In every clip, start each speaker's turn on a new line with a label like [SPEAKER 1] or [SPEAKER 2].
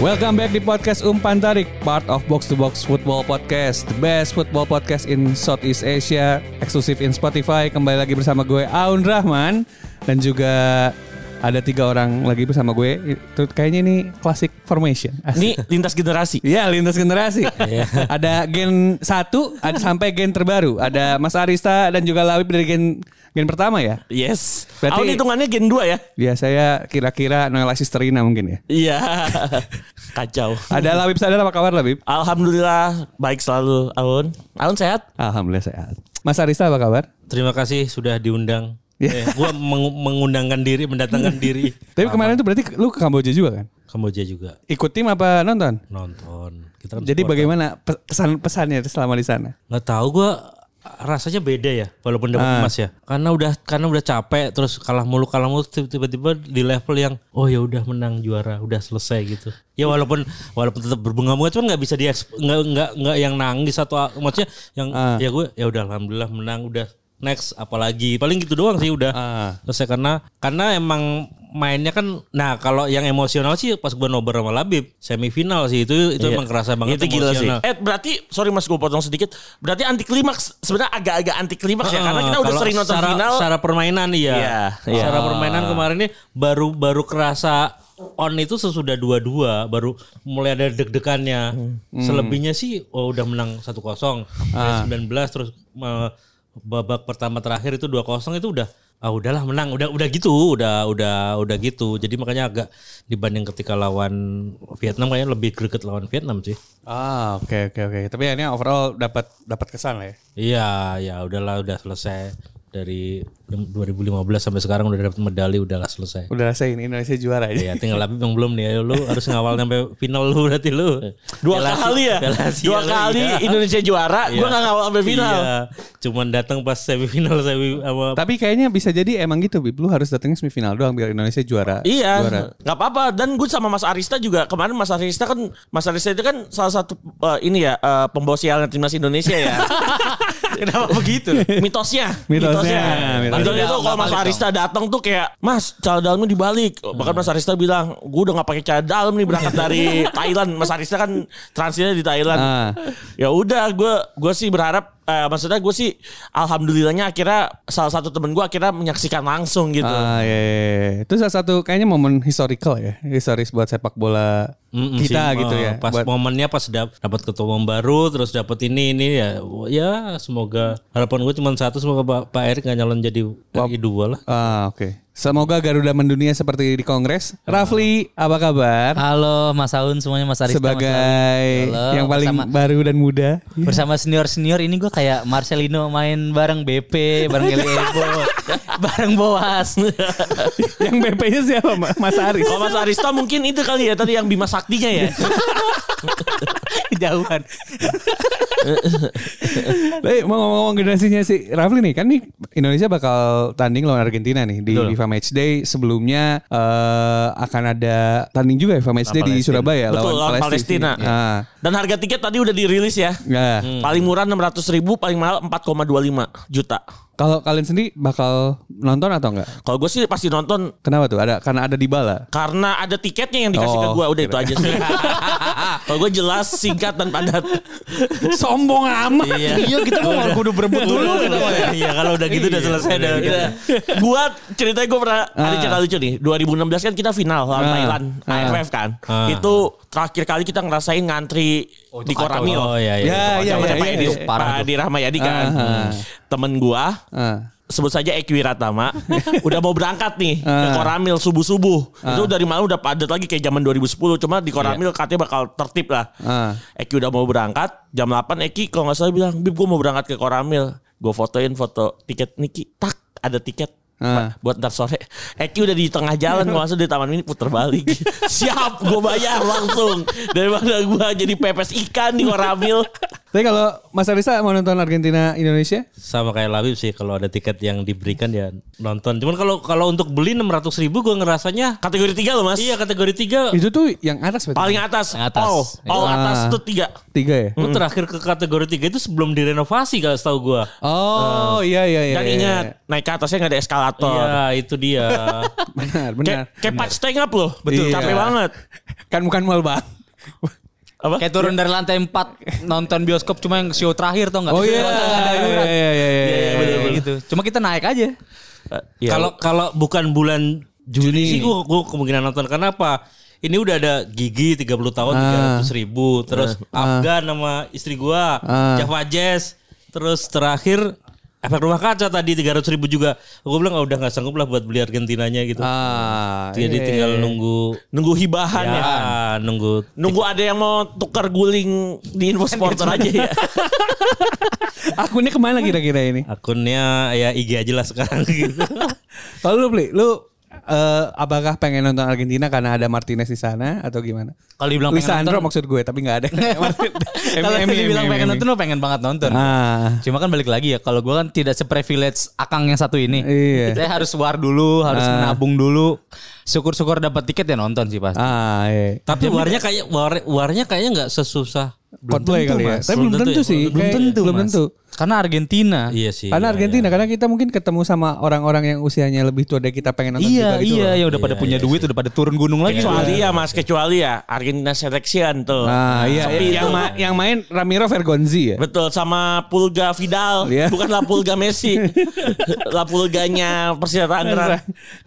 [SPEAKER 1] Welcome back di podcast Umpan Tarik, part of Box to Box Football Podcast, the best football podcast in Southeast Asia, eksklusif in Spotify. Kembali lagi bersama gue Aun Rahman dan juga ada tiga orang lagi bersama gue. Itu kayaknya ini classic formation.
[SPEAKER 2] Ini lintas generasi.
[SPEAKER 1] Iya lintas generasi. ada gen satu, ada sampai gen terbaru. Ada Mas Arista dan juga Lawip dari gen gen pertama ya.
[SPEAKER 2] Yes.
[SPEAKER 1] Berarti-
[SPEAKER 2] Berarti hitungannya gen 2 ya?
[SPEAKER 1] Ya saya kira-kira Noella Sisterina mungkin ya.
[SPEAKER 2] Iya. Kacau.
[SPEAKER 1] Ada Lawip sadar apa kabar Lawip?
[SPEAKER 2] Alhamdulillah baik selalu Aun. Aun sehat?
[SPEAKER 1] Alhamdulillah sehat. Mas Arista apa kabar?
[SPEAKER 3] Terima kasih sudah diundang.
[SPEAKER 1] Ya.
[SPEAKER 2] Iya.
[SPEAKER 3] Eh, gua mengu- mengundangkan diri, mendatangkan diri.
[SPEAKER 1] Tapi kemarin tuh berarti lu ke Kamboja juga kan?
[SPEAKER 3] Kamboja juga
[SPEAKER 1] Ikut tim apa nonton?
[SPEAKER 3] nonton. Kita kan
[SPEAKER 1] Jadi
[SPEAKER 3] supporter.
[SPEAKER 1] bagaimana pe- pesan-pesannya selama di sana?
[SPEAKER 3] nggak tahu gua rasanya beda ya walaupun dapat
[SPEAKER 2] Ah.
[SPEAKER 3] emas ya. Karena udah karena udah capek terus kalah mulu kalah mulu tiba-tiba di level yang oh ya udah menang juara, udah selesai gitu. Ya walaupun walaupun tetap berbunga-bunga cuman nggak bisa di nggak nggak nggak yang nangis atau a- maksudnya yang ya gue ya udah alhamdulillah menang udah next apalagi paling gitu doang sih udah.
[SPEAKER 1] Ah.
[SPEAKER 3] Terus ya, karena karena emang mainnya kan nah kalau yang emosional sih pas gue nobar sama Labib semifinal sih itu itu emang kerasa banget
[SPEAKER 2] Itu gila sih.
[SPEAKER 3] emosional.
[SPEAKER 2] Eh berarti sorry Mas gue potong sedikit. Berarti anti klimaks sebenarnya agak-agak anti klimaks ya karena kita udah
[SPEAKER 3] Ah, Kalau
[SPEAKER 2] sering nonton
[SPEAKER 3] secara,
[SPEAKER 2] final.
[SPEAKER 3] secara permainan iya.
[SPEAKER 2] Iya, iya.
[SPEAKER 3] Secara permainan kemarin ini baru baru kerasa on itu sesudah dua-dua baru mulai ada deg-degannya.
[SPEAKER 2] Hmm.
[SPEAKER 3] Selebihnya sih oh, udah menang 1-0.
[SPEAKER 2] Ah.
[SPEAKER 3] Dari 19 terus eh, babak pertama terakhir itu 2-0 itu udah ah udahlah menang udah udah gitu udah udah udah gitu jadi makanya agak dibanding ketika lawan Vietnam kayaknya lebih greget lawan Vietnam sih
[SPEAKER 1] Ah, oke oke oke. Tapi ini overall dapat dapat kesan lah ya.
[SPEAKER 3] Iya, ya udahlah udah selesai dari 2015 sampai sekarang udah dapat medali udahlah selesai.
[SPEAKER 1] Udah rasain Indonesia juara aja.
[SPEAKER 3] Ya tinggal Labib yang belum nih. Ya, Lu harus ngawal sampai final lu berarti lu.
[SPEAKER 2] dua
[SPEAKER 3] Piala Asia-
[SPEAKER 2] kali ya.
[SPEAKER 3] Piala Asia
[SPEAKER 2] Dua
[SPEAKER 3] lu,
[SPEAKER 2] kali
[SPEAKER 3] iya.
[SPEAKER 2] Indonesia juara, gue gak ngawal sampai final.
[SPEAKER 3] Iya, cuman datang pas semifinal semi sama
[SPEAKER 1] Tapi kayaknya bisa jadi emang gitu, Bib. Lu harus datangnya semifinal doang biar Indonesia juara.
[SPEAKER 2] Iya,
[SPEAKER 1] Juara.
[SPEAKER 2] nggak apa-apa. Dan gue sama Mas Arista juga kemarin Mas Arista kan Mas Arista itu kan salah satu eh, ini ya eh, pembawa sialan timnas Indonesia ya. Kenapa begitu? Mitosnya,
[SPEAKER 1] Mitosnya, mitosnya.
[SPEAKER 2] Mitosnya itu kalau Mas Arista datang tuh kayak Mas cara dalamnya dibalik. Bahkan Mas Arista bilang, gue udah nggak pakai cara dalam nih berangkat dari Thailand. Mas Arista kan transitnya di Thailand.
[SPEAKER 1] Ah.
[SPEAKER 2] Ya udah, gue gue sih berharap. eh, maksudnya gue sih alhamdulillahnya akhirnya salah satu temen gue akhirnya menyaksikan langsung gitu.
[SPEAKER 1] Ah, iya, iya, iya. Itu salah satu kayaknya momen historical ya. Historis buat sepak bola
[SPEAKER 3] Mm-mm
[SPEAKER 1] kita
[SPEAKER 3] sih,
[SPEAKER 1] gitu
[SPEAKER 3] eh,
[SPEAKER 1] ya.
[SPEAKER 3] Pas
[SPEAKER 1] Buat-
[SPEAKER 3] momennya pas dap- dapat ketua umum baru, terus dapat ini ini ya, ya semoga harapan gue cuma satu semoga Pak, Pak Erick nggak nyalon jadi RI dua lah.
[SPEAKER 1] Ah, oke. Semoga Garuda mendunia seperti di Kongres. Rafli, apa kabar?
[SPEAKER 4] Halo Mas Aun semuanya Mas Arista Mas Aun.
[SPEAKER 1] sebagai
[SPEAKER 4] Halo,
[SPEAKER 1] yang paling
[SPEAKER 4] bersama-
[SPEAKER 1] baru dan muda.
[SPEAKER 4] bersama senior senior ini gue kayak Marcelino main bareng BP bareng Eli Ebo bareng Boas
[SPEAKER 1] yang BP-nya siapa, Ma- Mas Aris?
[SPEAKER 4] Oh.
[SPEAKER 2] Kalau Mas Arista mungkin itu kali ya tadi yang Bima Saktinya ya.
[SPEAKER 4] jauhan
[SPEAKER 1] Tapi mau ngomong-ngomong generasinya si Rafli nih, kan nih Indonesia bakal tanding lawan Argentina nih di FIFA Matchday. Sebelumnya eh, akan ada tanding juga ya, FIFA Matchday di Surabaya
[SPEAKER 2] Betul, lawan Palestina.
[SPEAKER 1] Ah,
[SPEAKER 2] Dan harga tiket tadi udah dirilis ya.
[SPEAKER 1] ya.
[SPEAKER 4] Hmm.
[SPEAKER 2] Paling murah 600 ribu, paling mahal 4,25 juta.
[SPEAKER 1] Kalau kalian sendiri bakal nonton atau enggak?
[SPEAKER 2] Kalau gue sih pasti nonton
[SPEAKER 1] Kenapa tuh? Ada karena ada di bala.
[SPEAKER 2] karena ada tiketnya yang dikasih ke
[SPEAKER 1] Oh,
[SPEAKER 2] gue. Udah itu aja sih. Kalau gue jelas, singkat dan padat.
[SPEAKER 1] Sombong amat.
[SPEAKER 4] iya kita mau kudu berebut dulu
[SPEAKER 3] Iya kalau udah gitu udah selesai dah.
[SPEAKER 2] gue ceritanya gue pernah ada cerita lucu nih. 2016 kan kita final lawan
[SPEAKER 1] Ah.
[SPEAKER 2] Thailand,
[SPEAKER 1] Ah.
[SPEAKER 2] AFF kan. Itu terakhir kali kita ngerasain ngantri di Koramil.
[SPEAKER 3] Oh iya iya.
[SPEAKER 1] Ya, ya,
[SPEAKER 2] Sama
[SPEAKER 1] ya,
[SPEAKER 2] Pak
[SPEAKER 1] ya,
[SPEAKER 2] Edi,
[SPEAKER 1] ya.
[SPEAKER 2] Pak Edi Rahmayadi kan.
[SPEAKER 1] Ah.
[SPEAKER 2] Temen gue
[SPEAKER 1] Ah.
[SPEAKER 2] sebut saja Eki Wiratama udah mau berangkat nih ke
[SPEAKER 1] Ah.
[SPEAKER 2] Koramil subuh-subuh. Itu dari malam udah padat lagi kayak zaman 2010 cuma di Koramil katanya bakal tertib lah.
[SPEAKER 1] Iya. Ah.
[SPEAKER 2] Eki udah mau berangkat jam 8 Eki kalau nggak salah bilang, "Bib, gue mau berangkat ke Koramil." Gue fotoin foto tiket Niki. Tak, ada tiket.
[SPEAKER 1] Ah.
[SPEAKER 2] Buat ntar sore Eki udah di tengah jalan Gue langsung di taman mini puter balik Siap Gue bayar langsung Daripada gue jadi pepes ikan di Koramil
[SPEAKER 1] Tapi kalau Mas Arista mau nonton Argentina Indonesia?
[SPEAKER 2] ya.
[SPEAKER 3] Sama kayak Labib sih kalau ada tiket yang diberikan ya nonton. Cuman kalau kalau untuk beli 600 ribu gue ngerasanya
[SPEAKER 2] Kategori tiga loh mas.
[SPEAKER 3] iya kategori 3
[SPEAKER 1] Itu tuh yang atas berarti.
[SPEAKER 2] Paling atas.
[SPEAKER 4] Yang atas.
[SPEAKER 2] All, all
[SPEAKER 1] Ah.
[SPEAKER 2] atas tuh tiga.
[SPEAKER 1] tiga ya.
[SPEAKER 2] Hmm.
[SPEAKER 3] Gue terakhir ke kategori 3 itu sebelum direnovasi kalau setahu gue.
[SPEAKER 1] Oh iya iya iya.
[SPEAKER 2] Dan
[SPEAKER 1] iya,
[SPEAKER 2] ingat
[SPEAKER 1] iya.
[SPEAKER 2] naik ke atasnya nggak ada eskalator.
[SPEAKER 3] Iya itu dia.
[SPEAKER 1] Benar benar.
[SPEAKER 2] Kayak kayak patch tank up loh.
[SPEAKER 1] Betul.
[SPEAKER 2] Capek
[SPEAKER 1] Iya.
[SPEAKER 2] banget.
[SPEAKER 1] Kan bukan mal bang.
[SPEAKER 2] Apa?
[SPEAKER 4] Kayak turun dari lantai 4 nonton bioskop cuma yang show terakhir tau nggak?
[SPEAKER 1] Oh iya
[SPEAKER 4] Show
[SPEAKER 1] iya
[SPEAKER 4] terakhir.
[SPEAKER 1] iya iya. iya,
[SPEAKER 4] Kayak
[SPEAKER 1] iya.
[SPEAKER 4] gitu. Cuma kita naik aja.
[SPEAKER 3] Kalau kalau bukan bulan Juni sih gue gue kemungkinan nonton. Kenapa? Ini udah ada gigi 30 tahun
[SPEAKER 1] Ah.
[SPEAKER 3] 300 ribu. Terus Afgan sama istri gue.
[SPEAKER 1] Ah.
[SPEAKER 3] Java Jazz. Terus terakhir efek rumah kaca tadi 300 ribu juga. Gue bilang "Ah, udah nggak sanggup lah buat beli Argentinanya gitu.
[SPEAKER 1] Ah. iya,
[SPEAKER 3] Jadi tinggal
[SPEAKER 1] iya.
[SPEAKER 3] nunggu.
[SPEAKER 2] Nunggu hibahan
[SPEAKER 3] Ya,
[SPEAKER 2] ya.
[SPEAKER 3] nunggu.
[SPEAKER 2] Nunggu ada yang mau tukar guling
[SPEAKER 1] Kan
[SPEAKER 2] di info sponsor
[SPEAKER 1] gitu.
[SPEAKER 2] aja
[SPEAKER 1] Iya.
[SPEAKER 2] ya.
[SPEAKER 1] Akunnya kemana kira-kira ini?
[SPEAKER 3] Akunnya ya IG aja lah sekarang gitu.
[SPEAKER 1] Kalau lu beli, lu eh, apakah pengen nonton Argentina karena ada Martinez di sana atau gimana?
[SPEAKER 4] Kalau dibilang pengen
[SPEAKER 1] Lisandro
[SPEAKER 4] nonton-
[SPEAKER 1] maksud gue, tapi nggak ada.
[SPEAKER 4] Kalau dibilang pengen nonton, lo pengen banget nonton.
[SPEAKER 1] Ah.
[SPEAKER 4] Cuma kan balik lagi ya, kalau gue kan tidak seprivilege akang yang satu ini.
[SPEAKER 1] Iya. Ah.
[SPEAKER 4] Saya harus war dulu, harus menabung dulu. Syukur-syukur dapat tiket ya nonton sih pasti.
[SPEAKER 1] Ah, iya.
[SPEAKER 3] Tapi warnya kayak war, warnya kayaknya nggak sesusah.
[SPEAKER 1] Coldplay kali ya.
[SPEAKER 4] Mas.
[SPEAKER 1] Tapi belum
[SPEAKER 3] Belum tentu
[SPEAKER 1] tentu
[SPEAKER 3] ya.
[SPEAKER 1] sih.
[SPEAKER 3] Belum
[SPEAKER 1] Kayak-
[SPEAKER 4] tentu,
[SPEAKER 1] Belum
[SPEAKER 4] Mas.
[SPEAKER 1] tentu.
[SPEAKER 4] Karena Argentina.
[SPEAKER 3] Iya sih.
[SPEAKER 1] Karena
[SPEAKER 3] iya,
[SPEAKER 1] Argentina, karena kita mungkin ketemu sama orang-orang yang usianya lebih tua dari kita pengen nonton juga
[SPEAKER 4] Iya,
[SPEAKER 1] gitu
[SPEAKER 4] iya,
[SPEAKER 1] loh.
[SPEAKER 4] yang udah pada punya duit, udah pada turun gunung lagi.
[SPEAKER 2] Kecuali ya mas, kecuali ya Argentina selection tuh.
[SPEAKER 1] Nah, iya,
[SPEAKER 2] Sepi
[SPEAKER 1] iya. Yang,
[SPEAKER 2] tuh.
[SPEAKER 1] ma- yang main Ramiro Vergonzi ya.
[SPEAKER 2] Betul sama Pulga Vidal,
[SPEAKER 1] Iya.
[SPEAKER 2] bukan La Pulga Messi. La Pulganya
[SPEAKER 1] Iya.
[SPEAKER 2] Persita Tangerang.
[SPEAKER 1] Nah,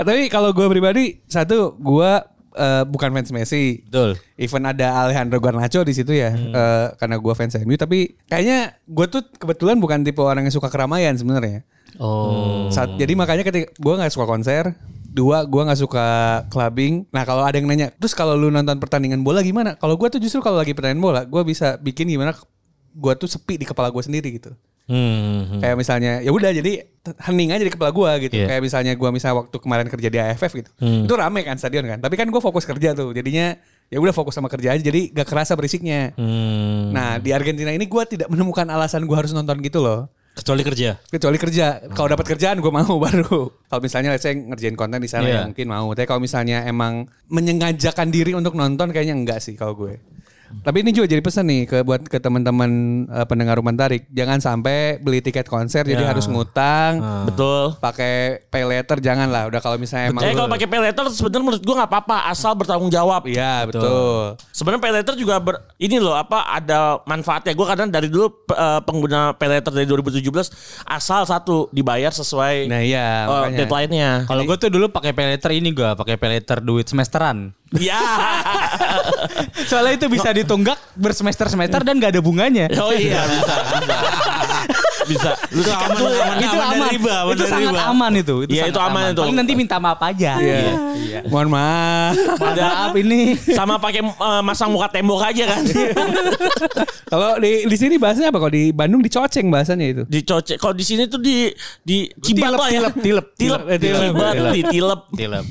[SPEAKER 1] Tapi kalau gue pribadi satu gue eh, bukan fans Messi.
[SPEAKER 3] Betul.
[SPEAKER 1] Even ada Alejandro Garnacho di situ ya eh, karena gue fans MU tapi kayaknya gue tuh kebetulan bukan tipe orang yang suka keramaian sebenarnya.
[SPEAKER 4] Oh.
[SPEAKER 1] Saat, jadi makanya ketika gue nggak suka konser, dua gue nggak suka clubbing. Nah kalau ada yang nanya, terus kalau lu nonton pertandingan bola gimana? Kalau gue tuh justru kalau lagi pertandingan bola, gue bisa bikin gimana gue tuh sepi di kepala gue sendiri gitu.
[SPEAKER 3] Hmm. Iya.
[SPEAKER 1] Kayak misalnya ya udah jadi t- hening aja di kepala gua gitu. Kayak misalnya gua misal waktu kemarin kerja di AFF gitu.
[SPEAKER 3] Hmm.
[SPEAKER 1] Itu rame kan stadion kan. Tapi kan gua fokus kerja tuh. Jadinya ya udah fokus sama kerja aja jadi gak kerasa berisiknya.
[SPEAKER 3] Hmm.
[SPEAKER 1] Nah, di Argentina ini gua tidak menemukan alasan gua harus nonton gitu loh.
[SPEAKER 3] Kecuali kerja.
[SPEAKER 1] Kecuali kerja. Kalau dapat kerjaan gua mau baru. Kalau misalnya let's say ngerjain konten di sana
[SPEAKER 3] Iya.
[SPEAKER 1] ya mungkin mau. Tapi kalau misalnya emang menyengajakan diri untuk nonton kayaknya enggak sih kalau gue. Tapi ini juga jadi pesan nih ke buat ke teman-teman eh, pendengar rumah tarik, jangan sampai beli tiket konser jadi harus ngutang,
[SPEAKER 2] Ah. Betul.
[SPEAKER 1] pakai pay later jangan lah. Udah kalau misalnya emang
[SPEAKER 2] Jadi kalau
[SPEAKER 1] lu-
[SPEAKER 2] pakai pay letter sebenarnya menurut gua nggak apa-apa asal bertanggung jawab.
[SPEAKER 1] Iya, betul.
[SPEAKER 2] Sebenarnya pay letter juga ber, ini loh apa ada manfaatnya. Gua kadang dari dulu pe- eh, pengguna pay letter dari 2017 asal satu dibayar sesuai
[SPEAKER 1] Nah, iya,
[SPEAKER 2] eh,
[SPEAKER 1] makanya.
[SPEAKER 2] deadline-nya.
[SPEAKER 4] Kalau gue tuh dulu pakai pay letter ini gue, pakai pay letter duit semesteran.
[SPEAKER 1] Iya.
[SPEAKER 2] Ya.
[SPEAKER 4] Soalnya itu bisa ditunggak bersemester-semester dan gak ada bunganya.
[SPEAKER 2] oh iya bisa. Bisa. Bisa.
[SPEAKER 4] itu aman, itu aman, itu sangat aman itu.
[SPEAKER 2] Iya,
[SPEAKER 4] sangat
[SPEAKER 2] itu aman itu.
[SPEAKER 4] Paling nanti minta maaf aja.
[SPEAKER 1] Iya. Mohon maaf.
[SPEAKER 4] Mohon maaf ini.
[SPEAKER 2] Sama pakai eh, masang muka tembok aja kan.
[SPEAKER 1] kalau di di sini bahasanya apa? Kalau di Bandung dicoceng bahasanya itu.
[SPEAKER 2] Dicocek. Kalau di sini tuh di di cibat
[SPEAKER 1] Tilep,
[SPEAKER 2] lah ya.
[SPEAKER 1] tilep, tilep,
[SPEAKER 2] tilep,
[SPEAKER 1] tilep, tilep,
[SPEAKER 2] Cibat,
[SPEAKER 1] tilep.
[SPEAKER 2] ditilep.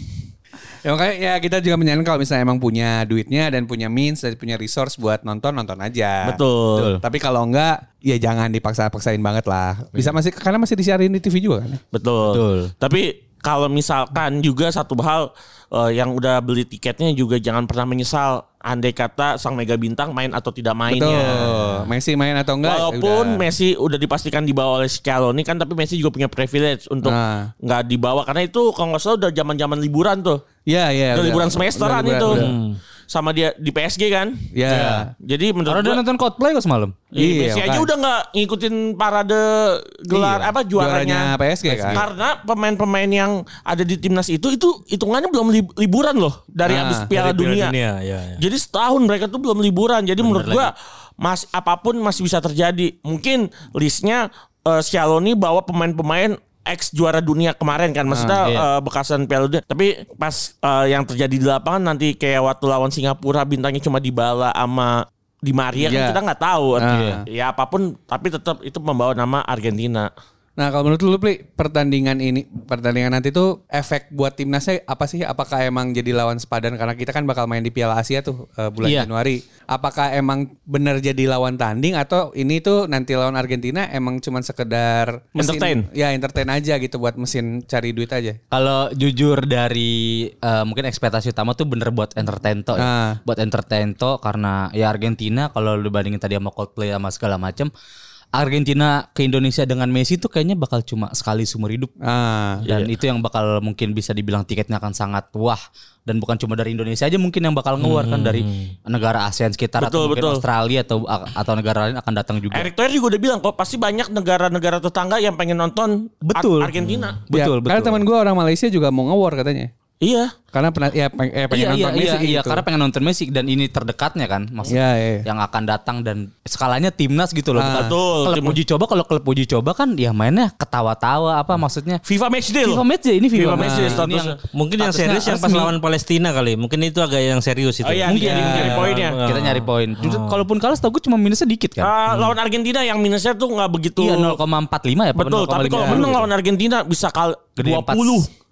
[SPEAKER 1] Ya makanya ya kita juga menyarankan kalau misalnya emang punya duitnya dan punya means dan punya resource buat nonton nonton aja.
[SPEAKER 2] Betul.
[SPEAKER 1] Tapi kalau enggak ya jangan dipaksa-paksain banget lah. Bisa
[SPEAKER 2] Iya.
[SPEAKER 1] masih karena masih disiarin di TV juga kan.
[SPEAKER 2] Betul.
[SPEAKER 3] Betul.
[SPEAKER 2] Tapi kalau misalkan juga satu hal eh, yang udah beli tiketnya juga jangan pernah menyesal andai kata sang mega bintang main atau tidak mainnya.
[SPEAKER 1] Betul. Messi main atau enggak? ya
[SPEAKER 2] Walaupun
[SPEAKER 1] udah.
[SPEAKER 2] Messi udah dipastikan dibawa oleh Scaloni kan tapi Messi juga punya privilege untuk
[SPEAKER 1] Nah.
[SPEAKER 2] nggak dibawa karena itu kalau nggak salah udah zaman-zaman liburan tuh.
[SPEAKER 1] Iya iya.
[SPEAKER 2] Udah
[SPEAKER 1] udah.
[SPEAKER 2] liburan semesteran
[SPEAKER 1] Udah liburan,
[SPEAKER 2] itu.
[SPEAKER 1] udah.
[SPEAKER 2] Sama dia di PSG kan.
[SPEAKER 1] Iya.
[SPEAKER 2] Jadi menurut
[SPEAKER 4] Karena udah
[SPEAKER 2] gua-
[SPEAKER 4] nonton Coldplay kok semalam.
[SPEAKER 2] Iya,
[SPEAKER 1] Iya,
[SPEAKER 2] Messi aja
[SPEAKER 1] makanya.
[SPEAKER 2] udah nggak ngikutin parade gelar
[SPEAKER 1] Iya,
[SPEAKER 2] apa juaranya,
[SPEAKER 1] juaranya PSG kan.
[SPEAKER 2] Karena pemain-pemain yang ada di timnas itu itu hitungannya belum lib- liburan loh dari
[SPEAKER 1] Ah,
[SPEAKER 2] habis Piala Dunia.
[SPEAKER 3] ya, ya.
[SPEAKER 2] Jadi setahun mereka tuh belum liburan. Jadi menurut gua mas apapun masih bisa terjadi. Mungkin listnya eh, Scaloni bawa pemain-pemain ex juara dunia kemarin kan maksudnya eh, bekasan Piala Dunia. Tapi pas eh, yang terjadi di lapangan nanti kayak waktu lawan Singapura bintangnya cuma dibala sama di
[SPEAKER 1] Iya.
[SPEAKER 2] Maria kan kita nggak tahu
[SPEAKER 1] Ah.
[SPEAKER 2] ya apapun tapi tetap itu membawa nama Argentina
[SPEAKER 1] Nah kalau menurut lu Pli, pertandingan ini, pertandingan nanti tuh efek buat timnasnya apa sih? Apakah emang jadi lawan sepadan? Karena kita kan bakal main di Piala Asia tuh eh, bulan
[SPEAKER 4] Iya.
[SPEAKER 1] Januari. Apakah emang bener jadi lawan tanding atau ini tuh nanti lawan Argentina emang cuman sekedar mesin,
[SPEAKER 2] Entertain.
[SPEAKER 1] Ya entertain aja gitu buat mesin cari duit aja.
[SPEAKER 4] Kalau jujur dari eh, mungkin ekspektasi utama tuh bener buat entertain to, ya.
[SPEAKER 1] Ah.
[SPEAKER 4] buat entertain to karena ya Argentina kalau lu bandingin tadi sama Coldplay sama segala macem Argentina ke Indonesia dengan Messi tuh kayaknya bakal cuma sekali seumur hidup
[SPEAKER 1] Ah,
[SPEAKER 4] dan itu yang bakal mungkin bisa dibilang tiketnya akan sangat wah dan bukan cuma dari Indonesia aja mungkin yang bakal ngeluarkan dari negara ASEAN sekitar atau
[SPEAKER 2] Betul,
[SPEAKER 4] mungkin
[SPEAKER 2] betul.
[SPEAKER 4] Australia atau atau negara lain akan datang juga.
[SPEAKER 2] Erick Thohir juga udah bilang kok pasti banyak negara-negara tetangga yang pengen nonton Ar-
[SPEAKER 4] Betul.
[SPEAKER 2] Argentina.
[SPEAKER 1] Ya,
[SPEAKER 4] Betul,
[SPEAKER 1] Karena
[SPEAKER 4] betul.
[SPEAKER 1] teman gue orang Malaysia juga mau nge-war katanya.
[SPEAKER 2] Iya.
[SPEAKER 1] Karena pernah ya peng- eh, pengen
[SPEAKER 4] iya,
[SPEAKER 1] nonton
[SPEAKER 4] iya,
[SPEAKER 1] Messi
[SPEAKER 4] iya, iya,
[SPEAKER 1] gitu.
[SPEAKER 4] karena pengen nonton Messi dan ini terdekatnya kan
[SPEAKER 1] Iya,
[SPEAKER 4] maksudnya
[SPEAKER 1] iya. Ah.
[SPEAKER 4] yang akan datang dan skalanya timnas gitu loh. bukan
[SPEAKER 2] Betul,
[SPEAKER 4] Klub
[SPEAKER 2] timnas.
[SPEAKER 4] uji coba kalau klub uji coba kan ya mainnya ketawa-tawa apa
[SPEAKER 1] Hmm.
[SPEAKER 4] maksudnya?
[SPEAKER 2] FIFA Matchday loh.
[SPEAKER 4] FIFA match ya ini FIFA,
[SPEAKER 2] FIFA match ya. day
[SPEAKER 4] Ini
[SPEAKER 2] statusnya.
[SPEAKER 4] yang
[SPEAKER 3] Mungkin yang
[SPEAKER 4] statusnya
[SPEAKER 3] serius yang pas
[SPEAKER 4] resmi.
[SPEAKER 3] lawan Palestina kali. Mungkin itu agak yang serius itu.
[SPEAKER 2] Oh iya,
[SPEAKER 3] Mungkin.
[SPEAKER 2] dia nyari poinnya.
[SPEAKER 3] Ah.
[SPEAKER 4] kita nyari poin. Jujur,
[SPEAKER 1] Hmm.
[SPEAKER 4] Kalaupun kalah setahu gue cuma minusnya dikit kan.
[SPEAKER 2] Ah, Lawan Argentina yang minusnya tuh nggak begitu.
[SPEAKER 4] Iya 0,45 ya apa
[SPEAKER 2] Betul, tapi
[SPEAKER 4] 0,5
[SPEAKER 2] kalau
[SPEAKER 4] gitu.
[SPEAKER 2] menang lawan Argentina bisa kal
[SPEAKER 4] Gede
[SPEAKER 2] 20.
[SPEAKER 4] empat.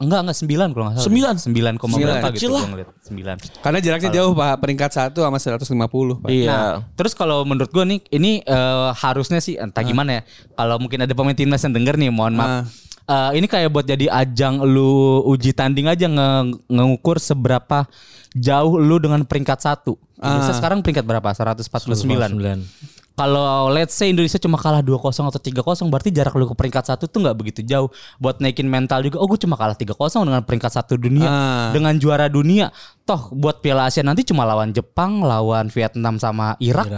[SPEAKER 4] Enggak, enggak 9 kalau enggak salah.
[SPEAKER 2] Sembilan.
[SPEAKER 4] 9, koma
[SPEAKER 1] Sembilan.
[SPEAKER 4] berapa
[SPEAKER 2] Kecil
[SPEAKER 4] gitu
[SPEAKER 2] lah.
[SPEAKER 4] gua ngeliat. 9.
[SPEAKER 1] Karena jaraknya jauh pak, peringkat 1 sama 150 pak.
[SPEAKER 2] Iya.
[SPEAKER 4] Terus kalau menurut gua nih ini eh, harusnya sih entah gimana ya. Kalau mungkin ada pemain timnas yang denger nih, mohon maaf. Eh, ini kayak buat jadi ajang lu uji tanding aja nge- ngukur seberapa jauh lu dengan peringkat satu. Indonesia sekarang peringkat berapa? 149.
[SPEAKER 3] 9.
[SPEAKER 4] Kalau let's say Indonesia cuma kalah 2-0 atau 3-0 berarti jarak lu ke peringkat satu tuh nggak begitu jauh buat naikin mental juga. Oh, gue cuma kalah 3-0 dengan peringkat satu dunia,
[SPEAKER 1] Ah.
[SPEAKER 4] dengan juara dunia. Toh buat Piala Asia nanti cuma lawan Jepang, lawan Vietnam sama Irak.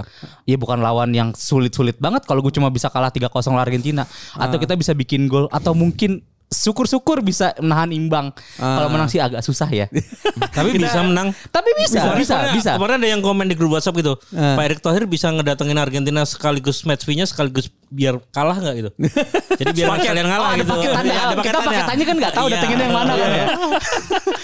[SPEAKER 4] Ya bukan lawan yang sulit-sulit banget kalau gue cuma bisa kalah 3-0 lawan Argentina atau kita bisa bikin gol atau mungkin syukur-syukur bisa menahan imbang. Kalau menang sih agak susah ya.
[SPEAKER 3] Tapi bisa menang.
[SPEAKER 4] Tapi bisa, bisa,
[SPEAKER 3] Kemarin-
[SPEAKER 4] bisa. Eh.
[SPEAKER 3] Kemarin ada yang komen di grup WhatsApp gitu. Pak Erick Thohir bisa ngedatengin Argentina sekaligus match fee-nya sekaligus biar kalah nggak gitu. Jadi biar
[SPEAKER 2] Sepaket.
[SPEAKER 3] kalian ngalah
[SPEAKER 4] Oh, ada
[SPEAKER 3] gitu.
[SPEAKER 4] paketannya.
[SPEAKER 3] Iya, ada
[SPEAKER 4] Kita paketannya kan nggak tahu
[SPEAKER 3] Iya.
[SPEAKER 4] datengin yang mana kan ya.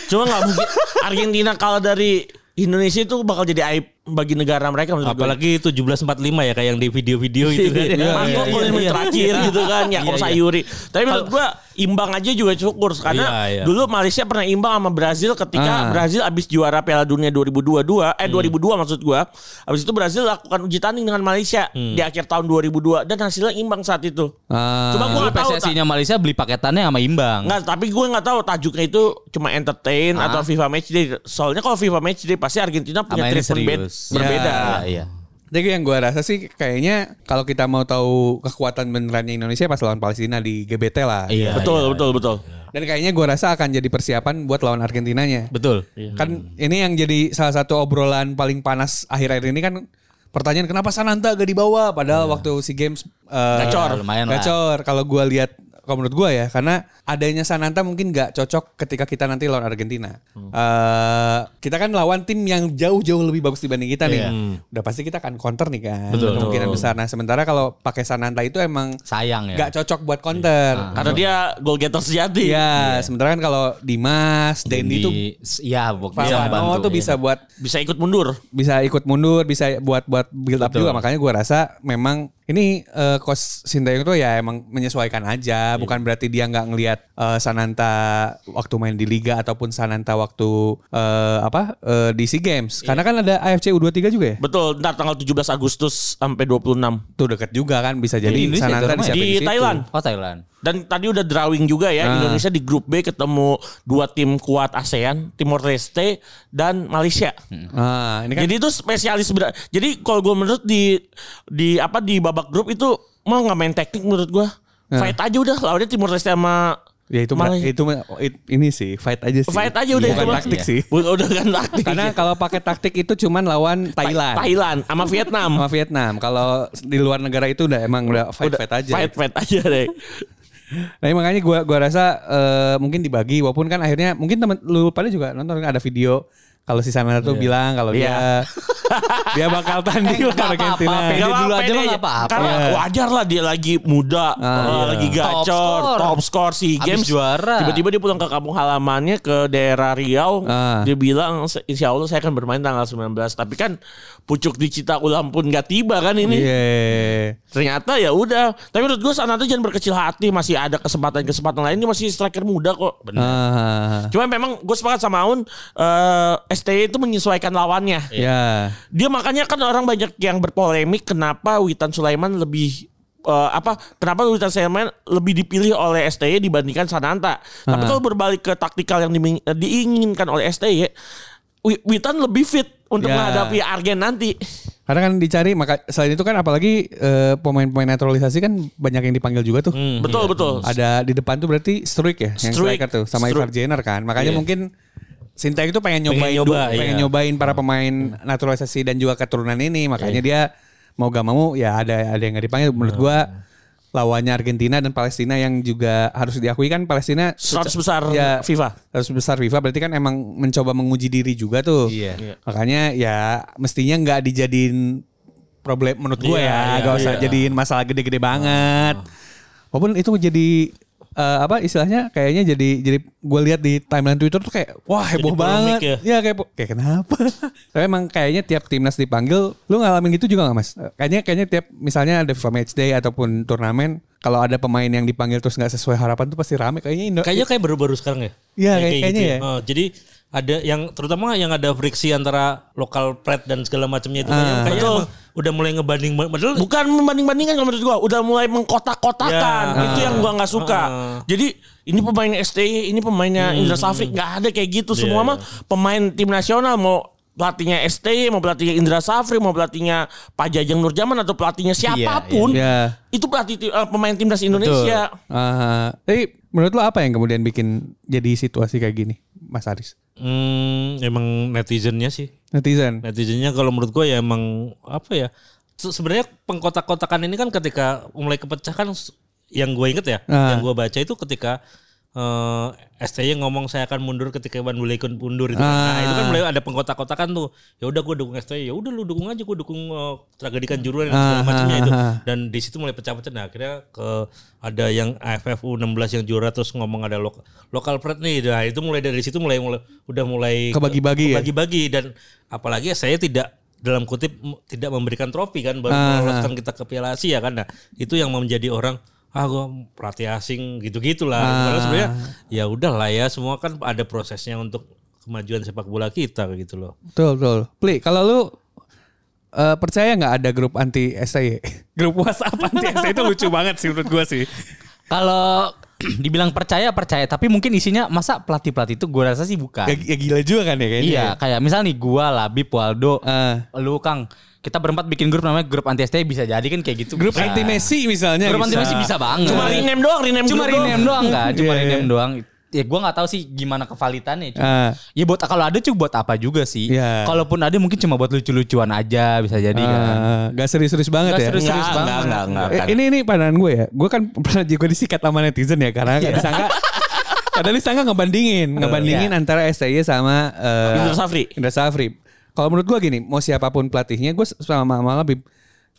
[SPEAKER 2] Cuma nggak mungkin Argentina kalah dari Indonesia itu bakal jadi aib bagi negara mereka menurut gue.
[SPEAKER 3] Apalagi 1745 ya kayak yang di video-video itu
[SPEAKER 4] Iya,
[SPEAKER 3] kan.
[SPEAKER 2] Masuk gol yang terakhir gitu kan Yakob Sayuri. Tapi menurut gua imbang aja juga syukur karena
[SPEAKER 3] Iya, iya.
[SPEAKER 2] dulu Malaysia pernah imbang sama Brazil
[SPEAKER 1] Ah.
[SPEAKER 2] ketika Brazil abis juara Piala Dunia 2022 eh
[SPEAKER 4] Hmm.
[SPEAKER 2] 2002 maksud gua. Abis itu Brazil lakukan uji tanding dengan Malaysia
[SPEAKER 4] Hmm.
[SPEAKER 2] di akhir tahun 2002 dan hasilnya imbang saat itu.
[SPEAKER 1] Ah.
[SPEAKER 2] Cuma gua nggak
[SPEAKER 4] Dulu
[SPEAKER 2] tahu ta-
[SPEAKER 4] PSSI-nya Malaysia beli paketannya sama imbang.
[SPEAKER 2] Nggak, tapi gue nggak tahu tajuknya itu cuma entertain
[SPEAKER 4] Ah.
[SPEAKER 2] atau FIFA Matchday. Soalnya kalau FIFA Matchday pasti Argentina punya
[SPEAKER 4] Sama ini
[SPEAKER 2] treatment bed-
[SPEAKER 4] serius.
[SPEAKER 2] berbeda.
[SPEAKER 4] Iya, iya.
[SPEAKER 1] Jadi yang gua rasa sih kayaknya kalau kita mau tahu kekuatan benerannya Indonesia pas lawan Palestina di GBT lah.
[SPEAKER 4] Iya,
[SPEAKER 2] betul, betul, betul,
[SPEAKER 1] Dan kayaknya gua rasa akan jadi persiapan buat lawan Argentinanya.
[SPEAKER 4] Betul.
[SPEAKER 3] Iya.
[SPEAKER 1] Kan ini yang jadi salah satu obrolan paling panas akhir-akhir ini kan pertanyaan kenapa Sananta gak dibawa padahal waktu si games eh,
[SPEAKER 4] Iya. Gacor. Lumayan lah.
[SPEAKER 1] gacor kalau gua lihat kalau menurut gua ya karena adanya Sananta mungkin gak cocok ketika kita nanti lawan Argentina.
[SPEAKER 4] Hmm.
[SPEAKER 1] Eh, kita kan lawan tim yang jauh-jauh lebih bagus dibanding kita nih.
[SPEAKER 4] Iya.
[SPEAKER 1] Udah pasti kita akan counter nih kan. Kemungkinan besar. Nah, sementara kalau pakai Sananta itu emang
[SPEAKER 4] Sayang ya. Iya. Ah.
[SPEAKER 1] gak cocok buat counter.
[SPEAKER 2] Karena
[SPEAKER 3] ya
[SPEAKER 2] dia goal getter sejati.
[SPEAKER 1] Iya, sementara kan kalau Dimas, Dendi itu
[SPEAKER 4] ya bukan
[SPEAKER 1] Pak Wano tuh bisa
[SPEAKER 4] iya.
[SPEAKER 1] buat
[SPEAKER 2] Bisa ikut mundur.
[SPEAKER 1] bisa ikut mundur, bisa buat buat build up juga. Makanya gua rasa memang ini eh, coach Sintayong tuh ya emang menyesuaikan aja,
[SPEAKER 2] Iya.
[SPEAKER 1] bukan berarti dia nggak ngelihat eh, Sananta waktu main di liga ataupun Sananta waktu eh, apa eh, di SEA Games.
[SPEAKER 2] Iya.
[SPEAKER 1] Karena kan ada AFC U23 juga ya.
[SPEAKER 2] Betul, ntar tanggal 17 Agustus sampai 26.
[SPEAKER 1] Tuh deket juga kan bisa jadi
[SPEAKER 4] Di Indonesia itu
[SPEAKER 1] Sananta
[SPEAKER 4] namanya?
[SPEAKER 1] disiapin
[SPEAKER 2] Di
[SPEAKER 1] situ.
[SPEAKER 2] Thailand.
[SPEAKER 4] Oh Thailand.
[SPEAKER 2] Dan tadi udah drawing juga
[SPEAKER 1] Ah.
[SPEAKER 2] ya, Indonesia di grup B ketemu dua tim kuat ASEAN, Timor Leste dan Malaysia.
[SPEAKER 1] Ah, ini kan
[SPEAKER 2] Jadi itu spesialis berat. Jadi kalau gue menurut di di apa di babak grup itu mau nggak main teknik menurut gue. Fight aja udah lawannya Timor Leste sama
[SPEAKER 1] Ah. ya itu
[SPEAKER 2] Malaysia.
[SPEAKER 1] itu it- ini sih fight aja sih.
[SPEAKER 2] Fight aja udah
[SPEAKER 1] bukan
[SPEAKER 2] itu mah.
[SPEAKER 1] taktik
[SPEAKER 2] Iya.
[SPEAKER 1] sih.
[SPEAKER 2] Udah udah kan taktik.
[SPEAKER 1] Karena kalau pakai taktik itu cuman lawan Thailand.
[SPEAKER 2] Thailand sama Vietnam.
[SPEAKER 1] sama Vietnam. Kalau di luar negara itu udah emang udah fight
[SPEAKER 2] Udah,
[SPEAKER 1] fight aja.
[SPEAKER 2] Fight fight aja deh.
[SPEAKER 1] Nah, makanya gua gua rasa eh, mungkin dibagi walaupun kan akhirnya mungkin teman lu pada juga nonton kan ada video Kalau si Samela
[SPEAKER 2] Iya.
[SPEAKER 1] tuh bilang kalau dia dia bakal tanding
[SPEAKER 4] Eh,
[SPEAKER 1] lah
[SPEAKER 4] nggak apa-apa,
[SPEAKER 1] Argentina.
[SPEAKER 4] Peggy.
[SPEAKER 2] Nggak
[SPEAKER 4] dulu aja
[SPEAKER 2] Nah, pede
[SPEAKER 4] mah nggak apa-apa. Ah, iya.
[SPEAKER 2] Karena
[SPEAKER 1] Iya.
[SPEAKER 2] wajar lah dia lagi muda, eh, lagi gacor,
[SPEAKER 4] score.
[SPEAKER 2] top score si
[SPEAKER 4] Abis
[SPEAKER 2] games.
[SPEAKER 4] juara.
[SPEAKER 2] Tiba-tiba dia pulang ke kampung halamannya ke daerah Riau.
[SPEAKER 1] Ah.
[SPEAKER 2] Dia bilang, insya Allah saya akan bermain tanggal 19. Tapi kan pucuk di cita ulang pun nggak tiba kan ini.
[SPEAKER 1] Iya.
[SPEAKER 2] Ternyata ya udah. Tapi menurut gue Sananta jangan berkecil hati. Masih ada kesempatan-kesempatan lain. Dia masih striker muda kok.
[SPEAKER 1] Ah,
[SPEAKER 2] Cuma memang gue sepakat sama Aun. eh, STY itu menyesuaikan lawannya.
[SPEAKER 1] ya.
[SPEAKER 2] Dia makanya kan orang banyak yang berpolemik kenapa Witan Sulaiman lebih eh, apa kenapa Witan Sulaiman lebih dipilih oleh STY dibandingkan Sananta. Tapi kalau berbalik ke taktikal yang dimin- eh, diinginkan oleh STY, Wi- Witan lebih fit untuk
[SPEAKER 1] Ya.
[SPEAKER 2] menghadapi Argen nanti.
[SPEAKER 1] Karena kan dicari maka selain itu kan apalagi eh, pemain-pemain naturalisasi kan banyak yang dipanggil juga tuh.
[SPEAKER 2] betul betul.
[SPEAKER 1] Hmm, iya. Ada di depan tuh berarti Struik ya yang
[SPEAKER 2] Struik.
[SPEAKER 1] striker tuh sama
[SPEAKER 2] Struik.
[SPEAKER 1] Ivar Jenner kan. Makanya mungkin Sintayong itu pengen nyobain
[SPEAKER 3] Pengen nyoba,
[SPEAKER 1] du- pengen
[SPEAKER 3] iya.
[SPEAKER 1] nyobain para pemain naturalisasi dan juga keturunan ini. Makanya dia mau gak mau ya ada ada yang gak dipanggil menurut gua lawannya Argentina dan Palestina yang juga harus diakui kan Palestina
[SPEAKER 2] Seratus besar
[SPEAKER 1] ya
[SPEAKER 2] FIFA.
[SPEAKER 1] harus besar FIFA berarti kan emang mencoba menguji diri juga tuh.
[SPEAKER 4] Iya.
[SPEAKER 2] Iya.
[SPEAKER 1] Makanya ya mestinya nggak dijadiin problem menurut gue
[SPEAKER 3] Iya,
[SPEAKER 1] ya,
[SPEAKER 3] iya, Oh.
[SPEAKER 1] nggak usah jadiin masalah gede-gede banget. Walaupun itu jadi eh, apa istilahnya kayaknya jadi jadi gue lihat di timeline Twitter tuh kayak wah heboh banget.
[SPEAKER 3] polemik
[SPEAKER 1] Ya. kayak po- kayak kenapa? Tapi emang kayaknya tiap timnas dipanggil, lu ngalamin gitu juga nggak mas? Eh, Kayaknya kayaknya tiap misalnya ada FIFA Match Day ataupun turnamen kalau ada pemain yang dipanggil terus nggak sesuai harapan tuh pasti rame kayaknya Indo
[SPEAKER 3] Kayaknya kayak baru-baru sekarang
[SPEAKER 1] Iya,
[SPEAKER 3] ya. Kayak-
[SPEAKER 1] kayak-
[SPEAKER 3] kayak
[SPEAKER 1] kayaknya ya.
[SPEAKER 3] Oh, jadi ada yang terutama yang ada friksi antara lokal pride dan segala macamnya itu
[SPEAKER 1] Ah.
[SPEAKER 3] kayaknya, kayaknya
[SPEAKER 2] Betul.
[SPEAKER 3] emang udah mulai ngebanding padahal
[SPEAKER 2] Bukan membanding-bandingkan kalau menurut gua, udah mulai mengkotak-kotakan.
[SPEAKER 3] Ya.
[SPEAKER 2] Itu yang gua nggak suka. Jadi ini pemain STI, ini pemainnya Indra Safri, nggak ada kayak gitu. Semua mah pemain tim nasional mau pelatihnya STI, mau pelatihnya Indra Safri, mau pelatihnya Pak Jajang Nurjaman atau pelatihnya siapapun,
[SPEAKER 1] iya.
[SPEAKER 2] itu pelatih ti- eh, pemain timnas Indonesia.
[SPEAKER 1] Ah, tapi menurut lo apa yang kemudian bikin jadi situasi kayak gini, Mas Aris?
[SPEAKER 3] Hmm, emang netizennya sih.
[SPEAKER 1] Netizen.
[SPEAKER 3] Netizennya kalau menurut gue ya emang apa ya? Se- Sebenarnya pengkotak-kotakan ini kan ketika mulai kepecahkan s- yang gue inget ya,
[SPEAKER 1] Ah.
[SPEAKER 3] yang gue baca itu ketika eh STY ngomong saya akan mundur ketika Iwan Buleikon mundur itu. Nah, itu kan mulai ada pengkotak-kotakan tuh. Ya udah gue dukung STY, ya udah lu dukung aja gue dukung eh, tragedi kanjuruan dan segala macamnya itu. Dan di situ mulai pecah-pecah. Nah, akhirnya ke ada yang AFF U16 yang juara terus ngomong ada lokal lokal pride nih. Nah, itu mulai dari situ mulai mulai udah mulai
[SPEAKER 1] Kebagi-bagi ya?
[SPEAKER 3] bagi-bagi Gitu. dan apalagi saya tidak dalam kutip m- tidak memberikan trofi kan baru meloloskan kita ke Piala Asia kan nah itu yang menjadi orang ah gua pelatih asing gitu-gitulah Padahal sebenarnya ya udahlah ya semua kan ada prosesnya untuk kemajuan sepak bola kita gitu loh
[SPEAKER 1] Betul, betul. Pli, kalau lu eh, percaya nggak ada grup anti E? STY? grup WhatsApp anti STY itu lucu banget sih menurut gue sih.
[SPEAKER 4] Kalau dibilang percaya percaya, tapi mungkin isinya masa pelatih pelatih itu gue rasa sih
[SPEAKER 1] Ya,
[SPEAKER 4] bukan.
[SPEAKER 1] ya gila juga kan ya kayaknya.
[SPEAKER 4] Iya, kayak misal nih gue Labib, Waldo,
[SPEAKER 1] Eh.
[SPEAKER 4] lu Kang, kita berempat bikin grup namanya grup anti STI bisa jadi kan kayak gitu.
[SPEAKER 1] Grup
[SPEAKER 4] Bisa.
[SPEAKER 1] anti Messi misalnya.
[SPEAKER 4] Grup anti Messi bisa banget.
[SPEAKER 2] Cuma rename doang, rename
[SPEAKER 4] Iya. Cuma
[SPEAKER 2] grup
[SPEAKER 4] rename doang kan, cuma
[SPEAKER 1] Iya, iya.
[SPEAKER 4] rename doang. Ya gue nggak tahu sih gimana kevalitannya. Cuma,
[SPEAKER 1] Ah.
[SPEAKER 4] Ya buat kalau ada juga buat apa juga sih.
[SPEAKER 1] Iya.
[SPEAKER 4] Kalaupun ada mungkin cuma buat lucu-lucuan aja bisa jadi kan.
[SPEAKER 1] Ah, gak serius-serius banget
[SPEAKER 4] Nggak
[SPEAKER 1] ya.
[SPEAKER 4] serius-serius
[SPEAKER 2] Nggak,
[SPEAKER 4] banget.
[SPEAKER 2] nggak, nggak, nggak.
[SPEAKER 1] Eh, ini ini pandangan gue ya. Gue kan pernah juga disikat sama netizen ya karena
[SPEAKER 4] Iya.
[SPEAKER 1] disangka kadang disangka ngebandingin, ngebandingin antara STY sama eh,
[SPEAKER 2] Indra Safri.
[SPEAKER 1] Indra Safri. Kalau menurut gue gini, mau siapapun pelatihnya, gue sama sama lebih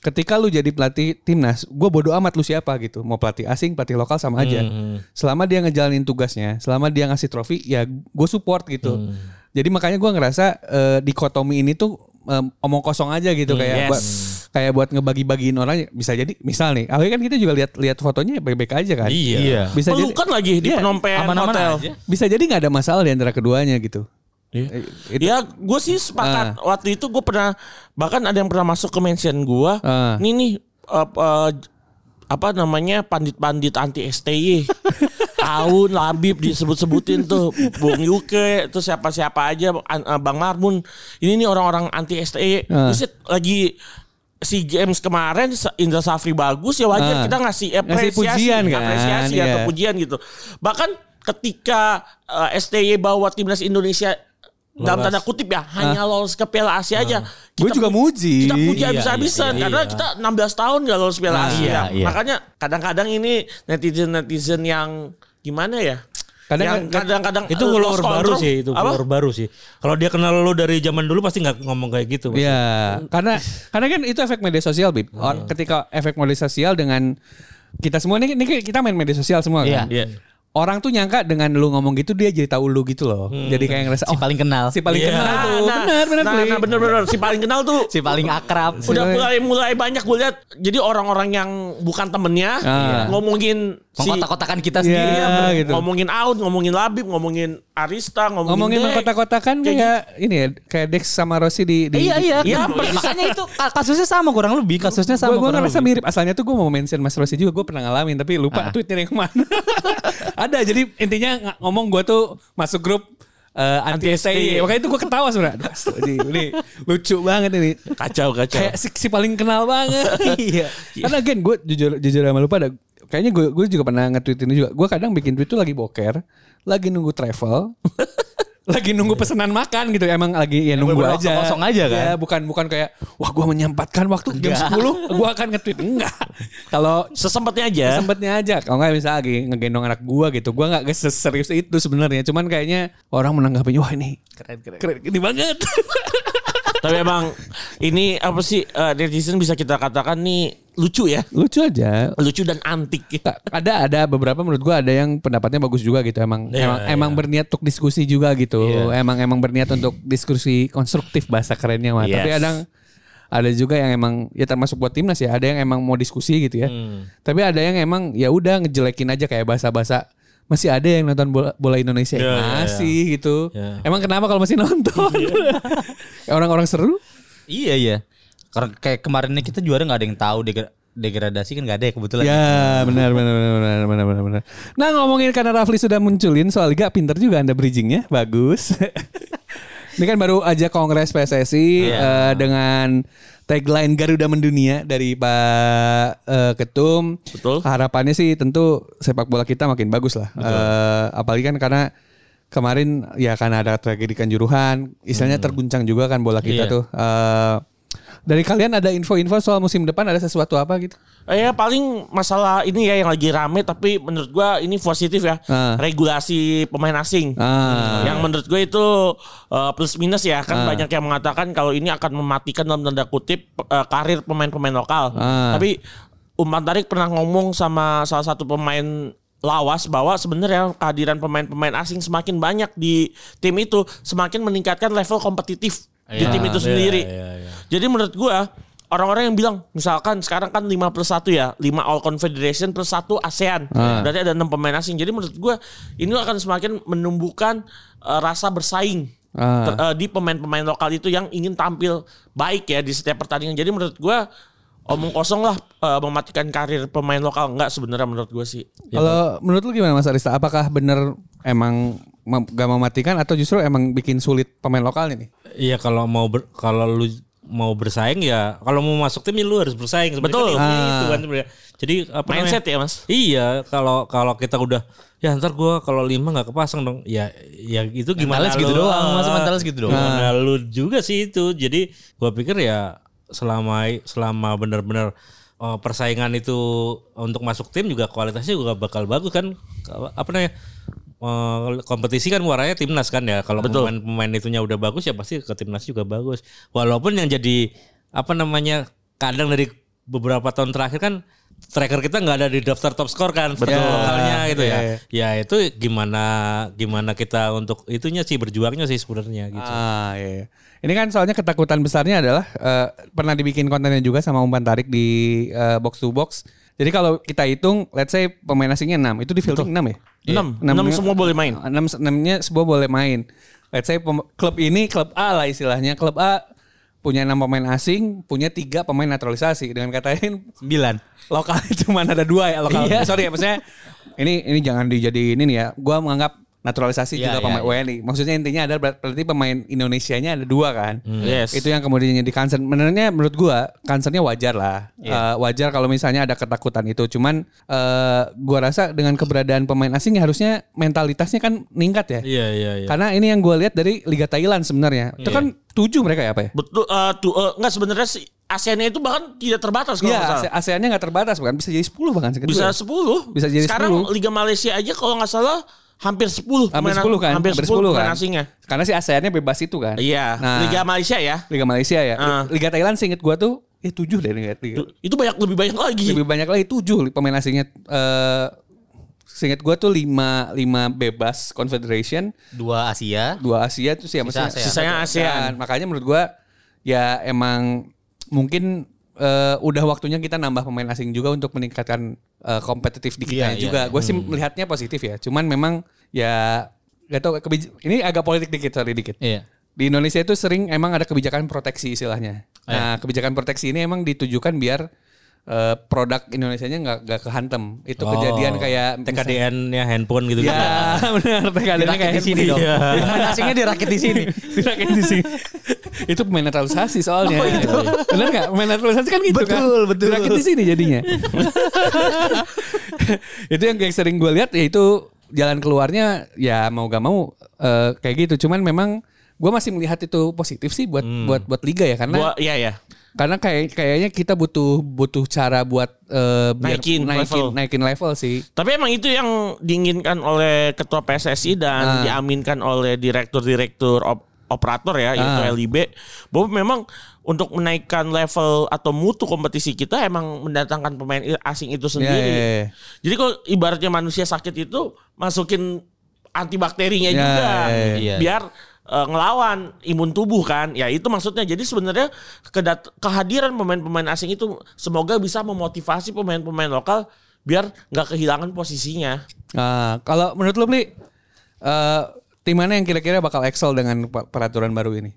[SPEAKER 1] ketika lu jadi pelatih timnas, gue bodo amat lu siapa gitu. Mau pelatih asing, pelatih lokal sama aja.
[SPEAKER 2] Hmm,
[SPEAKER 1] Selama dia ngejalanin tugasnya, selama dia ngasih trofi, ya gue support gitu.
[SPEAKER 2] Hmm.
[SPEAKER 1] Jadi makanya gue ngerasa eh, dikotomi ini tuh eh, omong kosong aja gitu kayak
[SPEAKER 2] Hmm, yes.
[SPEAKER 1] buat kayak buat ngebagi-bagiin orang ya bisa jadi misal nih akhirnya kan kita juga lihat lihat fotonya baik-baik aja kan
[SPEAKER 3] iya
[SPEAKER 1] bisa jadi
[SPEAKER 2] Pelukan lagi di Phnom Penh
[SPEAKER 4] Aman-aman
[SPEAKER 2] Hotel.
[SPEAKER 4] aja.
[SPEAKER 1] bisa jadi nggak ada masalah di antara keduanya gitu Eh, itu- Ah.
[SPEAKER 2] Ya, gue sih sepakat. Waktu itu gue pernah bahkan ada yang pernah masuk ke mention gue.
[SPEAKER 1] Ah.
[SPEAKER 2] Nih nih eh, eh, apa namanya pandit-pandit anti STY. Aun, Labib disebut-sebutin tuh, Bung Yuke, terus siapa-siapa aja, An- eh, Bang Marmun. Ini nih orang-orang anti STY.
[SPEAKER 1] Ah.
[SPEAKER 2] Buset, lagi si James kemarin Sa- Indra Safri bagus ya
[SPEAKER 1] Ah.
[SPEAKER 2] wajar kita ngasih
[SPEAKER 1] Ngasih
[SPEAKER 2] apresiasi,
[SPEAKER 1] pujian kan,
[SPEAKER 2] apresiasi atau
[SPEAKER 1] iya.
[SPEAKER 2] pujian gitu. Bahkan ketika eh, STY bawa timnas Indonesia dalam tanda kutip ya hanya lolos ke Piala Asia aja.
[SPEAKER 1] gue
[SPEAKER 2] Kita
[SPEAKER 1] juga muji
[SPEAKER 2] kita puji
[SPEAKER 3] Iya,
[SPEAKER 2] habis-habisan
[SPEAKER 3] iya,
[SPEAKER 2] karena
[SPEAKER 3] iya.
[SPEAKER 2] kita 16 tahun gak lolos Piala Asia.
[SPEAKER 4] iya, iya.
[SPEAKER 2] Makanya kadang-kadang ini netizen-netizen yang gimana ya?
[SPEAKER 1] Kadang-
[SPEAKER 2] yang
[SPEAKER 1] kadang-
[SPEAKER 2] kadang-kadang
[SPEAKER 3] Itu
[SPEAKER 2] lost
[SPEAKER 3] follower baru
[SPEAKER 2] control.
[SPEAKER 3] sih, itu
[SPEAKER 2] Apa?
[SPEAKER 3] follower baru sih. Kalau dia kenal lo dari zaman dulu pasti nggak ngomong kayak gitu. pasti.
[SPEAKER 1] Iya, karena karena kan itu efek media sosial, Bib. Or- Ketika efek media sosial dengan kita semua ini, ini kita main media sosial semua kan.
[SPEAKER 4] Iya.
[SPEAKER 1] Orang tuh nyangka dengan lu ngomong gitu dia jadi tahu lu gitu loh. Jadi kayak ngerasa "Oh,
[SPEAKER 4] Si paling kenal.
[SPEAKER 1] si paling
[SPEAKER 3] Iya.
[SPEAKER 1] kenal
[SPEAKER 2] Nah,
[SPEAKER 1] tuh.
[SPEAKER 2] nah,
[SPEAKER 1] benar, benar.
[SPEAKER 2] nah,
[SPEAKER 1] Bli.
[SPEAKER 2] nah, benar, benar. Si paling kenal tuh
[SPEAKER 4] Si paling akrab.
[SPEAKER 2] udah mulai mulai banyak gue lihat. Jadi orang-orang yang bukan temennya
[SPEAKER 1] Ah.
[SPEAKER 2] ngomongin si
[SPEAKER 4] Mengkotak-kotakan kita
[SPEAKER 1] Iya,
[SPEAKER 4] sendiri. ya,
[SPEAKER 1] gitu.
[SPEAKER 2] ngomongin out, ngomongin Labib, ngomongin Arista, ngomongin,
[SPEAKER 1] Ngomongin
[SPEAKER 2] Dek.
[SPEAKER 1] mengkotak-kotakan kayak ini ya, kayak Dex sama Rossi di, di
[SPEAKER 4] Iya iya,
[SPEAKER 2] Iya,
[SPEAKER 4] Kenapa?
[SPEAKER 2] persis.
[SPEAKER 4] makanya itu ka- kasusnya sama kurang lebih kasusnya sama gitu.
[SPEAKER 1] Gue
[SPEAKER 4] kurang
[SPEAKER 1] ngerasa
[SPEAKER 4] lebih.
[SPEAKER 1] mirip asalnya tuh gue mau mention Mas Rosi juga gue pernah ngalamin tapi lupa tweetnya yang kemana. Ada jadi intinya ng- ngomong gue tuh masuk grup anti STI. Makanya itu gue ketawa sebenarnya. Aduh, astaga, ini, ini lucu banget ini.
[SPEAKER 2] Kacau, kacau.
[SPEAKER 1] Kayak si, si paling kenal banget. iya. Karena again gue jujur jujur sama lupa ada kayaknya gue gue juga pernah nge-tweet ini juga. Gue kadang bikin tweet tuh lagi boker, lagi nunggu travel. lagi nunggu pesanan makan gitu emang lagi ya nunggu aja
[SPEAKER 4] bener-bener kosong aja kan?
[SPEAKER 1] Ya, bukan bukan kayak wah gue menyempatkan waktu jam 10 gue akan nge-tweet enggak kalau
[SPEAKER 2] Sesempatnya aja.
[SPEAKER 1] sempetnya aja kalau nggak misalnya lagi ngegendong anak gua gitu gua nggak serius itu sebenarnya cuman kayaknya orang menanggapinya wah ini keren keren keren ini banget
[SPEAKER 2] Tapi emang ini apa sih eh, netizen bisa kita katakan nih lucu ya.
[SPEAKER 1] lucu aja
[SPEAKER 2] Lucu dan antik.
[SPEAKER 1] Tak, ada ada beberapa menurut gua ada yang pendapatnya bagus juga gitu emang
[SPEAKER 3] Iya,
[SPEAKER 1] emang
[SPEAKER 3] iya.
[SPEAKER 1] emang berniat untuk diskusi juga gitu emang emang berniat untuk diskusi konstruktif bahasa kerennya mah tapi
[SPEAKER 2] Yes.
[SPEAKER 1] kadang ada juga yang emang ya termasuk buat timnas ya ada yang emang mau diskusi gitu ya
[SPEAKER 3] Hmm.
[SPEAKER 1] tapi ada yang emang ya udah ngejelekin aja kayak bahasa-bahasa masih ada yang nonton bola, bola Indonesia
[SPEAKER 3] Iya, iya,
[SPEAKER 1] masih gitu
[SPEAKER 3] Iya.
[SPEAKER 1] emang kenapa kalau masih nonton orang-orang seru
[SPEAKER 4] Iya iya. Karena kayak kemarinnya kita juara nggak ada yang tahu degra- degradasi kan nggak ada ya kebetulan.
[SPEAKER 1] Ya benar benar benar benar benar benar benar. Nah ngomongin karena Rafli sudah munculin soal liga pinter juga anda bridgingnya bagus. Ini kan baru aja kongres PSSI eh, dengan tagline Garuda mendunia dari Pak eh, Ketum.
[SPEAKER 2] Betul.
[SPEAKER 1] Harapannya sih tentu sepak bola kita makin bagus lah. Eh, apalagi kan karena kemarin ya karena ada tragedi kanjuruhan, istilahnya terguncang juga kan bola kita tuh. Eh, dari kalian ada info-info soal musim depan ada sesuatu apa gitu?
[SPEAKER 2] Eh, ya paling masalah ini ya yang lagi rame tapi menurut gua ini positif ya.
[SPEAKER 1] Ah.
[SPEAKER 2] Regulasi pemain asing.
[SPEAKER 1] Ah.
[SPEAKER 2] Yang menurut gue itu eh, plus minus ya kan banyak yang mengatakan kalau ini akan mematikan dalam tanda kutip eh, karir pemain-pemain lokal.
[SPEAKER 1] Ah.
[SPEAKER 2] Tapi Umpan Tarik pernah ngomong sama salah satu pemain lawas bahwa sebenarnya kehadiran pemain-pemain asing semakin banyak di tim itu semakin meningkatkan level kompetitif di tim itu sendiri.
[SPEAKER 3] iya, iya.
[SPEAKER 2] Ya. Jadi menurut gua orang-orang yang bilang misalkan sekarang kan 5 plus 1 ya, 5 all confederation plus 1 ASEAN. Berarti ada 6 pemain asing. Jadi menurut gua ini akan semakin menumbuhkan eh, rasa bersaing
[SPEAKER 1] Ah.
[SPEAKER 2] ter- eh, di pemain-pemain lokal itu yang ingin tampil baik ya di setiap pertandingan. Jadi menurut gua omong kosong lah eh, mematikan karir pemain lokal enggak sebenarnya menurut gua sih.
[SPEAKER 1] Kalau menurut lu gimana Mas Arista? Apakah bener emang mem- gak mematikan atau justru emang bikin sulit pemain lokal ini?
[SPEAKER 3] Iya kalau mau ber- kalau lu mau bersaing ya kalau mau masuk tim ya lu harus bersaing
[SPEAKER 2] Betul.
[SPEAKER 3] sebenarnya kan itu itu kan sebenarnya. Jadi apa namanya?
[SPEAKER 2] Mindset ya, Mas.
[SPEAKER 3] Iya, kalau kalau kita udah ya ntar gua kalau lima nggak kepasang dong. Ya ya itu gimana
[SPEAKER 4] Mentalnya segitu
[SPEAKER 3] lu- Ah.
[SPEAKER 4] doang, Mas, mentalnya segitu doang.
[SPEAKER 3] Gimana gitu Nah, lu juga sih itu. Jadi gua pikir ya selama selama benar-benar eh, persaingan itu untuk masuk tim juga kualitasnya juga bakal bagus kan. Apa apa namanya? Eh, kompetisi kan warnanya timnas kan ya. Kalau pemain-pemain itunya udah bagus ya pasti ke timnas juga bagus. Walaupun yang jadi apa namanya? kadang dari beberapa tahun terakhir kan striker kita nggak ada di daftar top skor kan betul lokalnya gitu ya. Ya itu gimana gimana kita untuk itunya sih berjuangnya sih sebenarnya gitu.
[SPEAKER 1] Ah iya. Ini kan soalnya ketakutan besarnya adalah eh, pernah dibikin kontennya juga sama umpan tarik di eh, box to box. Jadi kalau kita hitung, let's say pemain asingnya 6, itu di fielding 6 ya? ah,
[SPEAKER 2] 6, 6 semua boleh main.
[SPEAKER 1] 6 nya semua boleh main. Let's say pem- klub ini klub A lah istilahnya. Klub A punya 6 pemain asing, punya 3 pemain naturalisasi. Dengan kata lain
[SPEAKER 4] Sembilan.
[SPEAKER 1] lokal cuma ada dua ya lokal. Sorry ya maksudnya ini ini jangan dijadiin ini ya. Gua menganggap naturalisasi
[SPEAKER 4] Iya,
[SPEAKER 1] juga
[SPEAKER 4] iya,
[SPEAKER 1] pemain WNI. Maksudnya intinya ada ber- berarti pemain Indonesianya ada dua kan.
[SPEAKER 2] Yes.
[SPEAKER 1] Itu yang kemudian jadi concern. Menurutnya menurut gua concernnya wajar lah. Eh, wajar kalau misalnya ada ketakutan itu. Cuman eh gua rasa dengan keberadaan pemain asing ya harusnya mentalitasnya kan meningkat ya.
[SPEAKER 3] Iya iya iya.
[SPEAKER 1] Karena ini yang gua lihat dari Liga Thailand sebenarnya. Itu kan tujuh mereka ya apa ya?
[SPEAKER 2] Betul eh tu, eh, enggak sebenarnya si ASEAN-nya itu bahkan tidak terbatas kalau nggak salah.
[SPEAKER 1] Iya, ASEAN-nya nggak terbatas bukan bisa jadi 10 bahkan segitu
[SPEAKER 2] Bisa
[SPEAKER 1] ya.
[SPEAKER 2] 10.
[SPEAKER 1] Bisa jadi
[SPEAKER 2] Sekarang
[SPEAKER 1] 10.
[SPEAKER 2] Liga Malaysia aja kalau nggak salah hampir 10
[SPEAKER 1] Hampir
[SPEAKER 2] pemain-
[SPEAKER 1] 10 kan?
[SPEAKER 2] Hampir 10, pemain
[SPEAKER 1] kan?
[SPEAKER 2] asingnya.
[SPEAKER 1] Karena si ASEAN-nya bebas itu kan.
[SPEAKER 2] Iya,
[SPEAKER 1] Nah,
[SPEAKER 2] Liga Malaysia ya.
[SPEAKER 1] Liga Malaysia ya.
[SPEAKER 2] Ah.
[SPEAKER 1] Liga Thailand seinget gua tuh eh 7 deh Liga. Liga.
[SPEAKER 2] Itu banyak lebih banyak lagi.
[SPEAKER 1] Lebih banyak lagi 7 pemain asingnya eh seinget gua tuh 5 5 bebas Confederation,
[SPEAKER 4] Dua Asia.
[SPEAKER 1] dua Asia tuh sih ya, maksudnya
[SPEAKER 4] ASEAN.
[SPEAKER 2] Sisanya
[SPEAKER 1] satu
[SPEAKER 4] Kan.
[SPEAKER 2] ASEAN.
[SPEAKER 1] Makanya menurut gua ya emang mungkin eh, udah waktunya kita nambah pemain asing juga untuk meningkatkan eh, kompetitif di
[SPEAKER 4] Iya,
[SPEAKER 1] kitanya
[SPEAKER 4] iya,
[SPEAKER 1] juga. Gue sih melihatnya positif ya. Cuman memang ya gak tau kebij- ini agak politik dikit sorry dikit.
[SPEAKER 4] Iya.
[SPEAKER 1] Di Indonesia itu sering emang ada kebijakan proteksi istilahnya.
[SPEAKER 4] Iya.
[SPEAKER 1] Nah, kebijakan proteksi ini emang ditujukan biar eh, produk Indonesianya nggak nggak kehantem. Itu
[SPEAKER 4] Oh.
[SPEAKER 3] Oh,
[SPEAKER 1] kejadian kayak
[SPEAKER 3] TKDN-nya handphone gitu
[SPEAKER 1] Ya,
[SPEAKER 3] kan.
[SPEAKER 1] benar. TKDN kayak
[SPEAKER 4] Iya, Dirakit di sini dong.
[SPEAKER 1] Iya.
[SPEAKER 4] Pemain asingnya dirakit di sini.
[SPEAKER 1] Dirakit di sini. itu pemain naturalisasi soalnya. Iya, Benar nggak? Pemain naturalisasi kan gitu kan.
[SPEAKER 4] Oh, Betul, betul.
[SPEAKER 1] Dirakit di sini jadinya. itu yang, yang sering gue lihat yaitu jalan keluarnya ya mau gak mau eh, kayak gitu. Cuman memang gue masih melihat itu positif sih buat
[SPEAKER 4] Hmm.
[SPEAKER 1] buat buat liga ya karena
[SPEAKER 2] Gua iya ya.
[SPEAKER 1] karena kayak kayaknya kita butuh butuh cara buat eh, biar
[SPEAKER 2] Naikin
[SPEAKER 1] naikin,
[SPEAKER 2] level.
[SPEAKER 1] naikin level sih.
[SPEAKER 2] Tapi emang itu yang diinginkan oleh ketua PSSI
[SPEAKER 4] Nah.
[SPEAKER 2] dan diaminkan oleh direktur-direktur op- operator ya, yaitu
[SPEAKER 4] Nah.
[SPEAKER 2] LIB, bahwa memang untuk menaikkan level atau mutu kompetisi kita emang mendatangkan pemain i- asing
[SPEAKER 4] Iya,
[SPEAKER 2] itu sendiri.
[SPEAKER 1] Ya, ya, ya.
[SPEAKER 2] Jadi kalau ibaratnya manusia sakit itu masukin antibakterinya
[SPEAKER 1] Ya,
[SPEAKER 2] juga, gitu.
[SPEAKER 1] ya,
[SPEAKER 4] ya. Iya.
[SPEAKER 2] biar eh, ngelawan imun tubuh kan. Ya itu maksudnya. Jadi sebenarnya kedat- kehadiran pemain-pemain asing itu semoga bisa memotivasi pemain-pemain lokal biar nggak kehilangan posisinya.
[SPEAKER 1] Ah, kalau menurut lu Bli, eh, tim mana yang kira-kira bakal excel dengan pe- peraturan baru ini?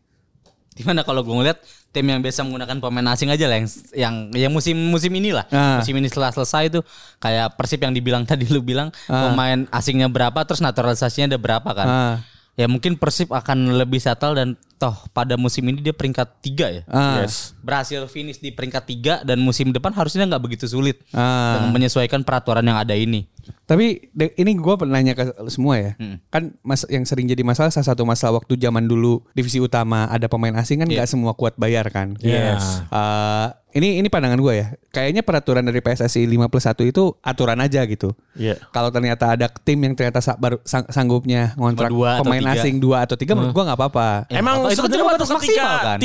[SPEAKER 4] Gimana kalau gue ngeliat tim yang biasa menggunakan pemain asing aja lah yang yang yang musim musim inilah.
[SPEAKER 1] Ah.
[SPEAKER 4] Musim ini setelah selesai tuh kayak Persib yang dibilang tadi lu bilang pemain asingnya berapa terus naturalisasinya ada berapa kan.
[SPEAKER 1] Ah.
[SPEAKER 4] Ya mungkin Persib akan lebih settle dan toh pada musim ini dia peringkat tiga ya.
[SPEAKER 1] Ah.
[SPEAKER 4] Berhasil finish di peringkat tiga dan musim depan harusnya nggak begitu sulit
[SPEAKER 1] Ah.
[SPEAKER 4] dengan menyesuaikan peraturan yang ada ini.
[SPEAKER 1] Tapi de- ini gua pernah nanya ke lu semua ya. Kan mas yang sering jadi masalah salah satu masalah waktu zaman dulu divisi utama ada pemain asing kan
[SPEAKER 4] Iya.
[SPEAKER 1] nggak semua kuat bayar kan.
[SPEAKER 3] Yes.
[SPEAKER 1] Eh, ini ini pandangan gua ya. Kayaknya peraturan dari PSSI 5 plus 1 itu aturan aja gitu.
[SPEAKER 2] Iya.
[SPEAKER 1] Kalau ternyata ada tim yang ternyata sa- baru sang- sanggupnya ngontrak
[SPEAKER 4] Cuma dua atau
[SPEAKER 1] pemain
[SPEAKER 4] tiga.
[SPEAKER 1] asing dua atau tiga menurut gua nggak apa-apa.
[SPEAKER 2] Emang
[SPEAKER 4] apa-apa. Itu kan
[SPEAKER 2] sebenarnya
[SPEAKER 4] cuma
[SPEAKER 2] waktu
[SPEAKER 4] batas maksimal,
[SPEAKER 2] ketika
[SPEAKER 4] kan?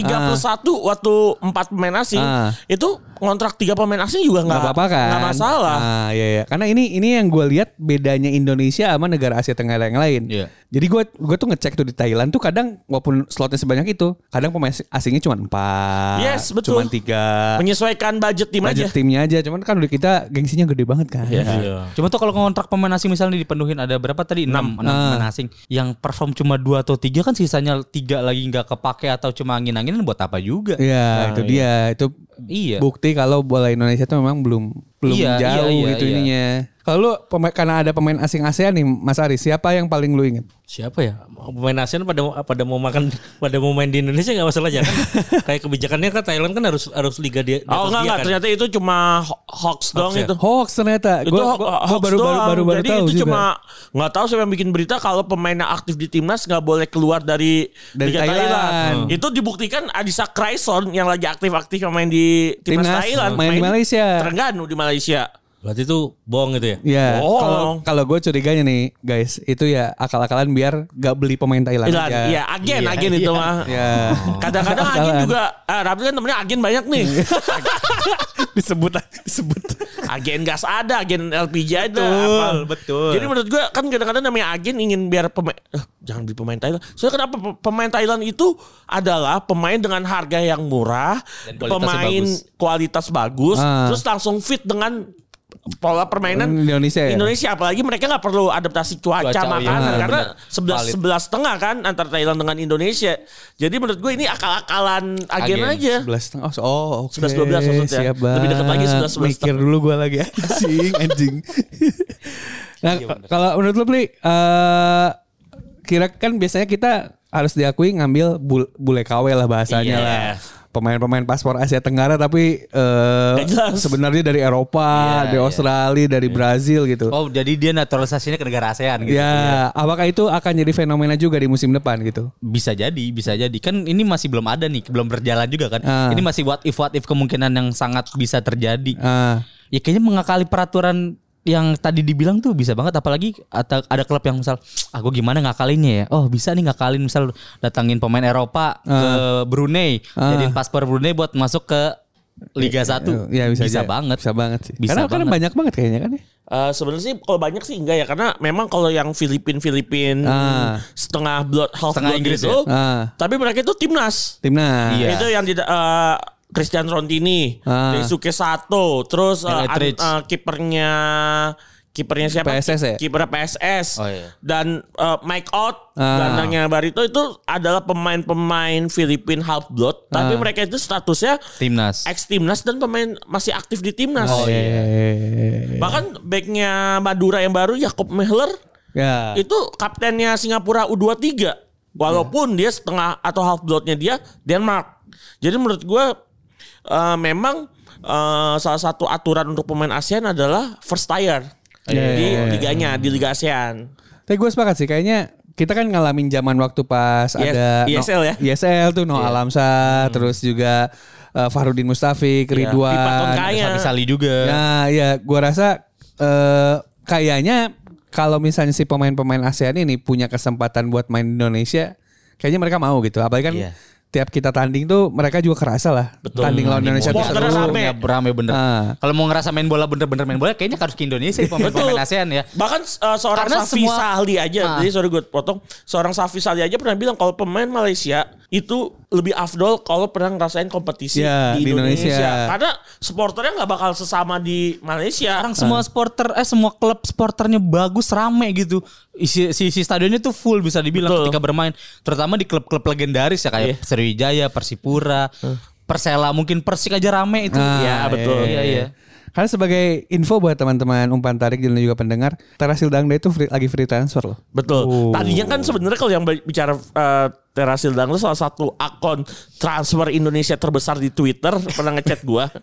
[SPEAKER 2] 31 waktu empat pemain asing
[SPEAKER 1] Ah.
[SPEAKER 2] itu kontrak tiga pemain asing juga nggak
[SPEAKER 1] nggak apa-apa kan
[SPEAKER 2] nggak masalah.
[SPEAKER 1] nah, iya, iya. karena ini ini yang gue lihat bedanya Indonesia sama negara Asia Tenggara yang lain
[SPEAKER 4] Iya.
[SPEAKER 1] jadi gue gue tuh ngecek tuh di Thailand tuh kadang walaupun slotnya sebanyak itu kadang pemain asingnya cuma empat
[SPEAKER 2] Yes, betul.
[SPEAKER 1] cuma tiga
[SPEAKER 2] Menyesuaikan budget tim
[SPEAKER 1] Ah. budget
[SPEAKER 2] aja.
[SPEAKER 1] timnya aja cuman kan udah kita gengsinya gede banget kan
[SPEAKER 3] Iya.
[SPEAKER 4] Cuma tuh kalau kontrak pemain asing misalnya dipenuhin ada berapa tadi 6 enam pemain asing yang perform cuma dua atau tiga kan sisanya tiga lagi nggak kepake atau cuma angin-anginan buat apa juga?
[SPEAKER 1] Iya,
[SPEAKER 2] Ah,
[SPEAKER 1] itu dia itu
[SPEAKER 4] Iya.
[SPEAKER 1] bukti kalau bola Indonesia tuh memang belum belum
[SPEAKER 4] Iya,
[SPEAKER 1] jauh
[SPEAKER 4] iya, iya,
[SPEAKER 1] gitu
[SPEAKER 4] iya.
[SPEAKER 1] ininya kalau lu pemain karena ada pemain asing ASEAN nih Mas Ari siapa yang paling lu inget
[SPEAKER 3] Siapa ya? Pemain ASEAN pada pada mau makan pada mau main di Indonesia nggak masalah ya kan? Kayak kebijakannya kan Thailand kan harus harus liga dia. di
[SPEAKER 2] Oh enggak
[SPEAKER 3] atas dia
[SPEAKER 2] enggak
[SPEAKER 3] kan.
[SPEAKER 2] ternyata itu cuma ho- hoax dong
[SPEAKER 3] ya?
[SPEAKER 2] itu.
[SPEAKER 1] hoax ternyata
[SPEAKER 2] Itu
[SPEAKER 1] gue
[SPEAKER 2] ho- hoax
[SPEAKER 1] baru baru
[SPEAKER 2] doang.
[SPEAKER 1] baru baru
[SPEAKER 2] Jadi
[SPEAKER 1] tahu
[SPEAKER 2] itu
[SPEAKER 1] juga.
[SPEAKER 2] cuma nggak tahu siapa yang bikin berita kalau pemain yang aktif di timnas nggak boleh keluar dari
[SPEAKER 1] Dari
[SPEAKER 2] Liga
[SPEAKER 1] Thailand. Oh.
[SPEAKER 2] Hmm. Itu dibuktikan Adisa Kraison yang lagi aktif-aktif yang main di timnas,
[SPEAKER 1] Timnas,
[SPEAKER 2] Thailand
[SPEAKER 1] main di Malaysia.
[SPEAKER 2] Terengganu di Malaysia.
[SPEAKER 3] Berarti itu bohong gitu ya?
[SPEAKER 1] Ya, kalau
[SPEAKER 2] Bohong.
[SPEAKER 1] kalau gue curiganya nih guys, itu ya akal-akalan biar gak beli pemain Thailand
[SPEAKER 2] Thailand.
[SPEAKER 1] aja.
[SPEAKER 2] Iya, agen agen itu mah.
[SPEAKER 1] Ya.
[SPEAKER 2] Kadang-kadang
[SPEAKER 1] Iya.
[SPEAKER 2] agen juga ah, Rapi kan temennya agen banyak nih.
[SPEAKER 1] disebut disebut.
[SPEAKER 2] agen gas ada, agen LPG ada.
[SPEAKER 4] Betul, betul.
[SPEAKER 2] Jadi menurut gua kan kadang-kadang namanya agen ingin biar pemain eh, jangan beli pemain Thailand. Soalnya kenapa pe- pemain Thailand itu adalah pemain dengan harga yang murah,
[SPEAKER 4] kualitasnya
[SPEAKER 2] pemain
[SPEAKER 4] bagus.
[SPEAKER 2] kualitas bagus,
[SPEAKER 1] Ah.
[SPEAKER 2] terus langsung fit dengan pola permainan
[SPEAKER 1] Indonesia ya?
[SPEAKER 2] Indonesia apalagi mereka nggak perlu adaptasi cuaca,
[SPEAKER 4] Cuaca,
[SPEAKER 2] makanan
[SPEAKER 4] iya,
[SPEAKER 2] karena
[SPEAKER 4] benar.
[SPEAKER 2] 11
[SPEAKER 4] Valid.
[SPEAKER 2] 11 tengah kan antara Thailand dengan Indonesia. Jadi menurut gue ini akal-akalan agen,
[SPEAKER 4] Agen.
[SPEAKER 2] aja.
[SPEAKER 1] 11 oh, oh oke.
[SPEAKER 2] 11-12 maksudnya.
[SPEAKER 1] Siap banget.
[SPEAKER 2] Lebih dekat lagi 11-11.
[SPEAKER 1] Mikir dulu gue lagi anjing anjing. nah,
[SPEAKER 4] Iya,
[SPEAKER 1] kalau menurut lu Pli, eh, kira kan biasanya kita harus diakui ngambil bul- bule KW lah bahasanya
[SPEAKER 3] Iya.
[SPEAKER 1] lah. Pemain-pemain paspor Asia Tenggara tapi eh,
[SPEAKER 2] Nggak jelas.
[SPEAKER 1] sebenarnya dari Eropa,
[SPEAKER 4] Iya,
[SPEAKER 1] dari
[SPEAKER 4] iya.
[SPEAKER 1] Australia, dari Brazil gitu.
[SPEAKER 4] Oh jadi dia naturalisasinya ke negara ASEAN gitu?
[SPEAKER 1] Ya, apakah itu akan jadi fenomena juga di musim depan gitu?
[SPEAKER 4] Bisa jadi, bisa jadi. Kan ini masih belum ada nih, belum berjalan juga kan.
[SPEAKER 1] Ah.
[SPEAKER 4] Ini masih what if what if kemungkinan yang sangat bisa terjadi.
[SPEAKER 1] Ah,
[SPEAKER 4] Ya kayaknya mengakali peraturan yang tadi dibilang tuh bisa banget apalagi ada, ada klub yang misal ah gue gimana ngakalinnya ya oh bisa nih ngakalin misal datangin pemain Eropa ke
[SPEAKER 1] Ah.
[SPEAKER 4] Brunei jadiin paspor Brunei buat masuk ke Liga 1
[SPEAKER 1] ya bisa, aja.
[SPEAKER 4] banget
[SPEAKER 1] bisa banget sih
[SPEAKER 4] Bisa
[SPEAKER 1] karena karena
[SPEAKER 4] banget.
[SPEAKER 1] banyak banget kayaknya kan ya
[SPEAKER 2] Eh, sebenarnya sih kalau banyak sih enggak ya karena memang kalau yang Filipin Filipin
[SPEAKER 1] Ah.
[SPEAKER 2] setengah blood half
[SPEAKER 4] Setengah
[SPEAKER 2] blood
[SPEAKER 4] Inggris
[SPEAKER 2] itu,
[SPEAKER 4] ya?
[SPEAKER 1] Ah.
[SPEAKER 2] tapi mereka itu timnas
[SPEAKER 1] timnas
[SPEAKER 4] Iya.
[SPEAKER 2] itu yang tidak eh, Christian Rontini,
[SPEAKER 1] Ah.
[SPEAKER 2] Daisuke Sato, terus eh, an-
[SPEAKER 4] Eldridge.
[SPEAKER 2] eh, kipernya kipernya siapa?
[SPEAKER 1] PSS ya?
[SPEAKER 2] Kipernya PSS.
[SPEAKER 4] Oh, iya.
[SPEAKER 2] Dan eh, Mike Ott,
[SPEAKER 1] Ah.
[SPEAKER 2] gelandangnya Barito itu adalah pemain-pemain Filipin half blood, tapi
[SPEAKER 4] Ah.
[SPEAKER 2] mereka itu statusnya
[SPEAKER 4] timnas
[SPEAKER 2] ex timnas dan pemain masih aktif di timnas.
[SPEAKER 4] Oh, iya.
[SPEAKER 1] Eh,
[SPEAKER 2] Bahkan backnya Madura yang baru Jakob Mehler
[SPEAKER 1] ya
[SPEAKER 2] itu kaptennya Singapura U23 walaupun
[SPEAKER 1] Iya.
[SPEAKER 2] dia setengah atau half bloodnya dia Denmark jadi menurut gue eh, memang eh, salah satu aturan untuk pemain ASEAN adalah first tier
[SPEAKER 1] Iya, iya,
[SPEAKER 2] di
[SPEAKER 1] iya.
[SPEAKER 2] liganya di Liga ASEAN
[SPEAKER 1] tapi gue sepakat sih kayaknya kita kan ngalamin zaman waktu pas
[SPEAKER 2] Yes,
[SPEAKER 1] ada No-
[SPEAKER 2] ISL ya?
[SPEAKER 1] ISL tuh No Alamsa terus juga eh, Farudin Mustafik Ridwan
[SPEAKER 2] Pipa Tongkaya.
[SPEAKER 4] Sali juga
[SPEAKER 1] Nah, ya gua rasa eh, kayaknya kalau misalnya si pemain-pemain ASEAN ini punya kesempatan buat main di Indonesia, kayaknya mereka mau gitu. Apalagi kan
[SPEAKER 4] Iya.
[SPEAKER 1] tiap kita tanding tuh mereka juga kerasa lah. Tanding lawan Indonesia tuh
[SPEAKER 2] Supporternya
[SPEAKER 1] seru.
[SPEAKER 2] rame.
[SPEAKER 4] Ya, rame bener.
[SPEAKER 1] Ah.
[SPEAKER 4] Kalau mau ngerasa main bola bener-bener main bola, kayaknya harus ke Indonesia pemain-pemain ASEAN ya.
[SPEAKER 2] bahkan eh, seorang
[SPEAKER 4] Karena
[SPEAKER 2] Safi
[SPEAKER 4] semua-
[SPEAKER 2] Sahli aja
[SPEAKER 4] Ah.
[SPEAKER 2] jadi sorry gue potong seorang Safi Sahli aja pernah bilang kalau pemain Malaysia itu lebih afdol kalau pernah ngerasain kompetisi
[SPEAKER 1] Ya,
[SPEAKER 4] Iya,
[SPEAKER 2] di,
[SPEAKER 1] di
[SPEAKER 2] Indonesia.
[SPEAKER 1] Indonesia.
[SPEAKER 2] karena supporternya nggak bakal sesama di Malaysia Ah.
[SPEAKER 4] Sekarang semua sporter eh semua klub sporternya bagus rame gitu. Isi si, si stadionnya tuh full bisa dibilang
[SPEAKER 2] Betul.
[SPEAKER 4] ketika bermain, terutama di klub-klub legendaris ya kayak Sriwijaya, Persipura, Persela, mungkin Persik aja rame itu.
[SPEAKER 1] Ah,
[SPEAKER 4] Iya,
[SPEAKER 2] betul.
[SPEAKER 4] Iya, iya.
[SPEAKER 1] Karena sebagai info buat teman-teman umpan tarik dan juga pendengar, Terasil Dangda itu free- lagi free transfer loh.
[SPEAKER 2] Betul.
[SPEAKER 4] Oh.
[SPEAKER 2] Tadinya kan sebenarnya kalau yang bicara eh, Terasil Dangdut salah satu akun transfer Indonesia terbesar di Twitter pernah ngechat gua.